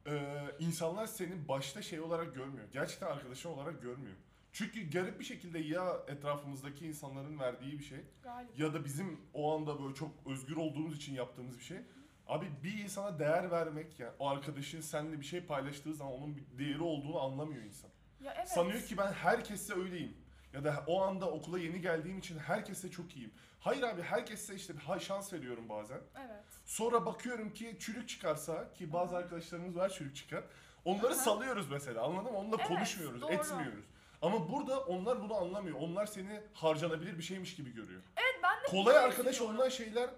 S1: Ee, insanlar seni başta şey olarak görmüyor. Gerçekten arkadaşın olarak görmüyor. Çünkü garip bir şekilde ya etrafımızdaki insanların verdiği bir şey
S2: Galiba.
S1: ya da bizim o anda böyle çok özgür olduğumuz için yaptığımız bir şey. Abi bir insana değer vermek yani o arkadaşın seninle bir şey paylaştığı zaman onun bir değeri olduğunu anlamıyor insan.
S2: Ya evet.
S1: Sanıyor ki ben herkese öyleyim. Ya da o anda okula yeni geldiğim için herkese çok iyiyim. Hayır abi herkese işte ha- şans veriyorum bazen.
S2: Evet.
S1: Sonra bakıyorum ki çürük çıkarsa ki bazı arkadaşlarımız var çürük çıkan. Onları
S2: Aha.
S1: salıyoruz mesela anladın mı? Onunla
S2: Evet,
S1: konuşmuyoruz,
S2: doğru.
S1: etmiyoruz. Ama burada onlar bunu anlamıyor. Onlar seni harcanabilir bir şeymiş gibi görüyor.
S2: Evet ben de
S1: Kolay
S2: böyle
S1: arkadaş
S2: düşünüyorum.
S1: olunan şeyler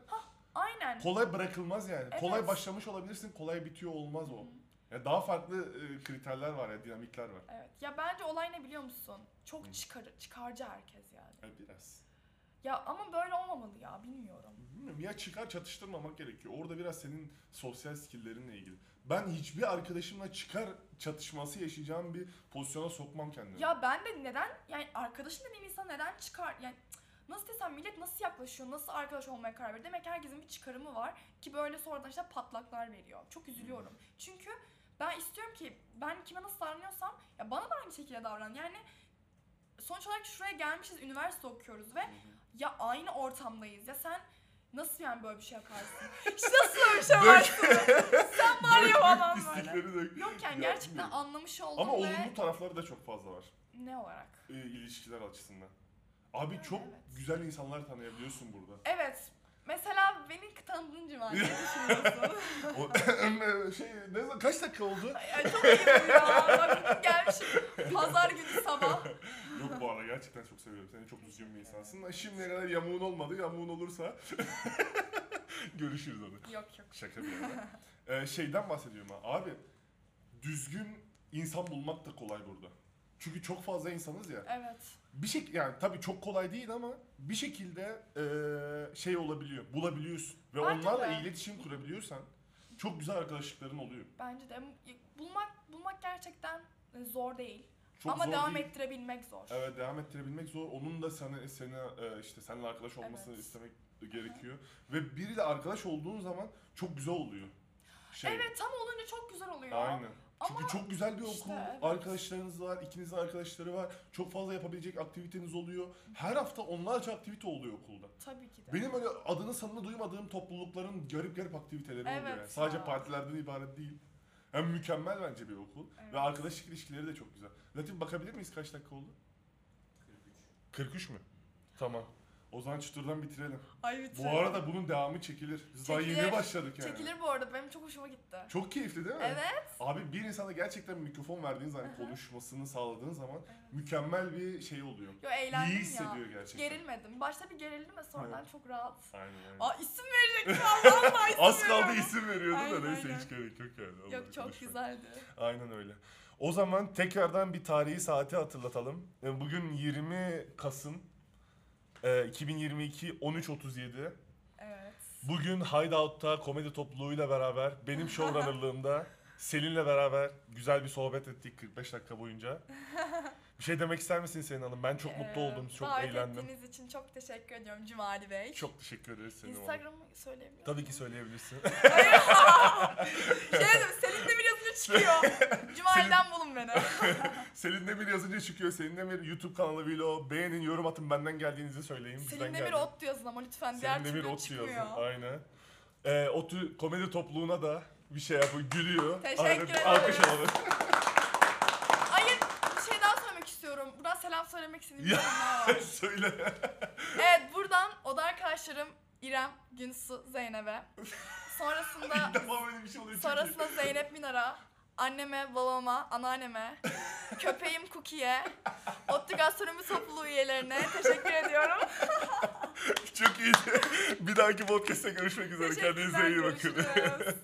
S2: Aynen.
S1: kolay bırakılmaz yani.
S2: Evet.
S1: Kolay başlamış olabilirsin, kolay bitiyor olmaz o. Ya daha farklı e, kriterler var ya, dinamikler var.
S2: Evet. Ya bence olay ne biliyor musun?
S1: Hı.
S2: Çok çıkar çıkarcı herkes yani.
S1: Ya biraz.
S2: Ya ama böyle olmamalı ya bilmiyorum.
S1: Bilmiyorum ya çıkar çatıştırmamak gerekiyor. Orada biraz senin sosyal skill'lerinle ilgili. Ben hiçbir arkadaşımla çıkar çatışması yaşayacağım bir pozisyona sokmam kendimi.
S2: Ya ben de neden yani arkadaşım dediğim insan neden çıkar yani cık, nasıl desem millet nasıl yaklaşıyor, nasıl arkadaş olmaya karar veriyor. Demek ki herkesin bir çıkarımı var ki böyle sonradan işte patlaklar veriyor. Çok üzülüyorum. Çünkü ben istiyorum ki ben kime nasıl davranıyorsam ya bana da aynı şekilde davran. Yani sonuç olarak şuraya gelmişiz, üniversite okuyoruz ve
S1: Hı hı.
S2: ya aynı ortamdayız ya sen nasıl yani böyle bir şey <laughs> yaparsın? işte nasıl böyle bir şey
S1: Dök.
S2: yaparsın? sen var ya
S1: Dök,
S2: falan
S1: dök,
S2: böyle.
S1: pislikleri dök.
S2: Yok yani
S1: Ya,
S2: gerçekten
S1: bilmiyorum.
S2: anlamış oldum
S1: Ama
S2: ve
S1: olumlu tarafları da çok fazla var
S2: ne olarak?
S1: e, ilişkiler açısından. Abi
S2: Yani
S1: çok
S2: evet.
S1: güzel insanlar tanıyabiliyorsun burada.
S2: <laughs> Evet. Mesela beni
S1: <laughs>
S2: tanıdığın civar ne düşünüyorsun?
S1: O, <laughs> şey ne zaman kaç dakika
S2: <laughs>
S1: oldu?
S2: Ay, çok iyiyim ya. Bak gelmişim. Pazar günü sabah.
S1: Yok bu arada gerçekten çok seviyorum seni. Çok düzgün bir insansın. Şimdiye kadar yamuğun olmadı. Yamuğun olursa <laughs> görüşürüz onu.
S2: Yok yok.
S1: Şaka bir yana. Ee, şeyden bahsediyorum ha. Abi düzgün insan bulmak da kolay burada. Çünkü çok fazla insanız ya.
S2: Evet.
S1: Bir şey yani tabii çok kolay değil ama bir şekilde eee, şey olabiliyor, bulabiliyorsun ve
S2: Bence
S1: onlarla
S2: de.
S1: iletişim kurabiliyorsan çok güzel arkadaşlıkların oluyor.
S2: Bence de bulmak bulmak gerçekten e, zor değil.
S1: Çok
S2: Ama
S1: zor
S2: devam
S1: değil.
S2: ettirebilmek zor.
S1: Evet devam ettirebilmek zor. Onun da sana sana eee, işte seninle arkadaş olmasını
S2: Evet.
S1: istemek gerekiyor ve biriyle arkadaş olduğun zaman çok güzel oluyor. Şey.
S2: Evet tam olunca çok güzel oluyor.
S1: Aynen. Çünkü
S2: Ama
S1: çok güzel bir okul,
S2: işte evet.
S1: arkadaşlarınız var, ikinizin arkadaşları var. Çok fazla yapabilecek aktiviteniz oluyor. Her hafta onlarca aktivite oluyor okulda.
S2: tabii ki de.
S1: Benim öyle adını sanını duymadığım toplulukların garip garip aktiviteleri oluyor.
S2: Evet
S1: Yani. Sadece
S2: ya.
S1: partilerden ibaret değil. Hem mükemmel bence bir okul.
S2: Evet.
S1: Ve arkadaşlık ilişkileri de çok güzel. Latif bakabilir miyiz kaç dakika oldu? 43 mü? Tamam. O zaman çıtırdan bitirelim.
S2: Ay bitir.
S1: Bu arada bunun devamı çekilir. Biz daha
S2: Çekilir.
S1: yeni başladık yani.
S2: çekilir bu arada. Benim çok hoşuma gitti.
S1: Çok keyifli değil mi?
S2: Evet.
S1: Abi bir insana gerçekten mikrofon verdiğin zaman, konuşmasını sağladığın zaman mükemmel bir şey oluyor.
S2: Yo eğlendim
S1: İyi
S2: ya.
S1: hissediyor gerçekten.
S2: Gerilmedim. Başta bir gerildim ve sonradan çok rahat.
S1: Aynen aynen.
S2: Aa isim verecektim Allah Allah isim
S1: Az kaldı
S2: veriyorum.
S1: isim veriyordun da
S2: Aynen,
S1: neyse
S2: aynen.
S1: hiç gerek yok yani. Allah'ım
S2: Yok çok
S1: konuşma.
S2: güzeldi.
S1: Aynen öyle. O zaman tekrardan bir tarihi saati hatırlatalım. E, Bugün 20 Kasım e, 2022 13.37.
S2: Evet.
S1: Bugün Hideout'ta komedi topluluğuyla beraber benim
S2: <laughs>
S1: showrunnerlığımda Selin'le beraber güzel bir sohbet ettik 45 dakika boyunca. Bir şey demek ister misin Selin Hanım? Ben çok mutlu
S2: Ee,
S1: oldum, çok
S2: davet
S1: eğlendim.
S2: ettiğiniz için çok teşekkür ediyorum Cumali Bey.
S1: Çok teşekkür ederiz Selin Hanım.
S2: Instagram'ı söyleyebiliyor
S1: Tabii
S2: muyum?
S1: ki söyleyebilirsin.
S2: şey dedim, Selin de biraz önce yazınca
S1: <laughs>
S2: çıkıyor. Cumali'den bulun beni.
S1: Selin Demir yazınca çıkıyor. Selin Demir YouTube kanalı vlog. Beğenin, yorum atın. Benden geldiğinizi söyleyin. Bizden
S2: Selin Demir
S1: geldi.
S2: Ot yazın ama lütfen diğer
S1: Selin Demir
S2: türlü
S1: Ot yazın.
S2: çıkmıyor.
S1: Aynen. Ee, Otu komedi topluluğuna da bir şey yapıyor. Gülüyor.
S2: Teşekkür
S1: Aynen,
S2: ederim.
S1: Alkış alalım.
S2: Hayır bir şey daha söylemek istiyorum. Buradan selam söylemek istediğim bir
S1: Ya.
S2: şey
S1: <laughs>
S2: daha
S1: <laughs>
S2: var.
S1: Söyle.
S2: Evet buradan oda arkadaşlarım İrem, Günsu, Zeynep'e.
S1: <laughs>
S2: Sonrasında
S1: İlk defa böyle bir şey oluyor. Çok iyi.
S2: Sonrasında Zeynep Minar'a, anneme, babama, anneanneme, köpeğim Cookie'ye, Otlu Gastronomi Topluluğu üyelerine teşekkür ediyorum.
S1: <laughs> Çok iyiydi. Bir dahaki podcast'te görüşmek üzere. Kendinize iyi bakın.
S2: Teşekkürler, görüşürüz.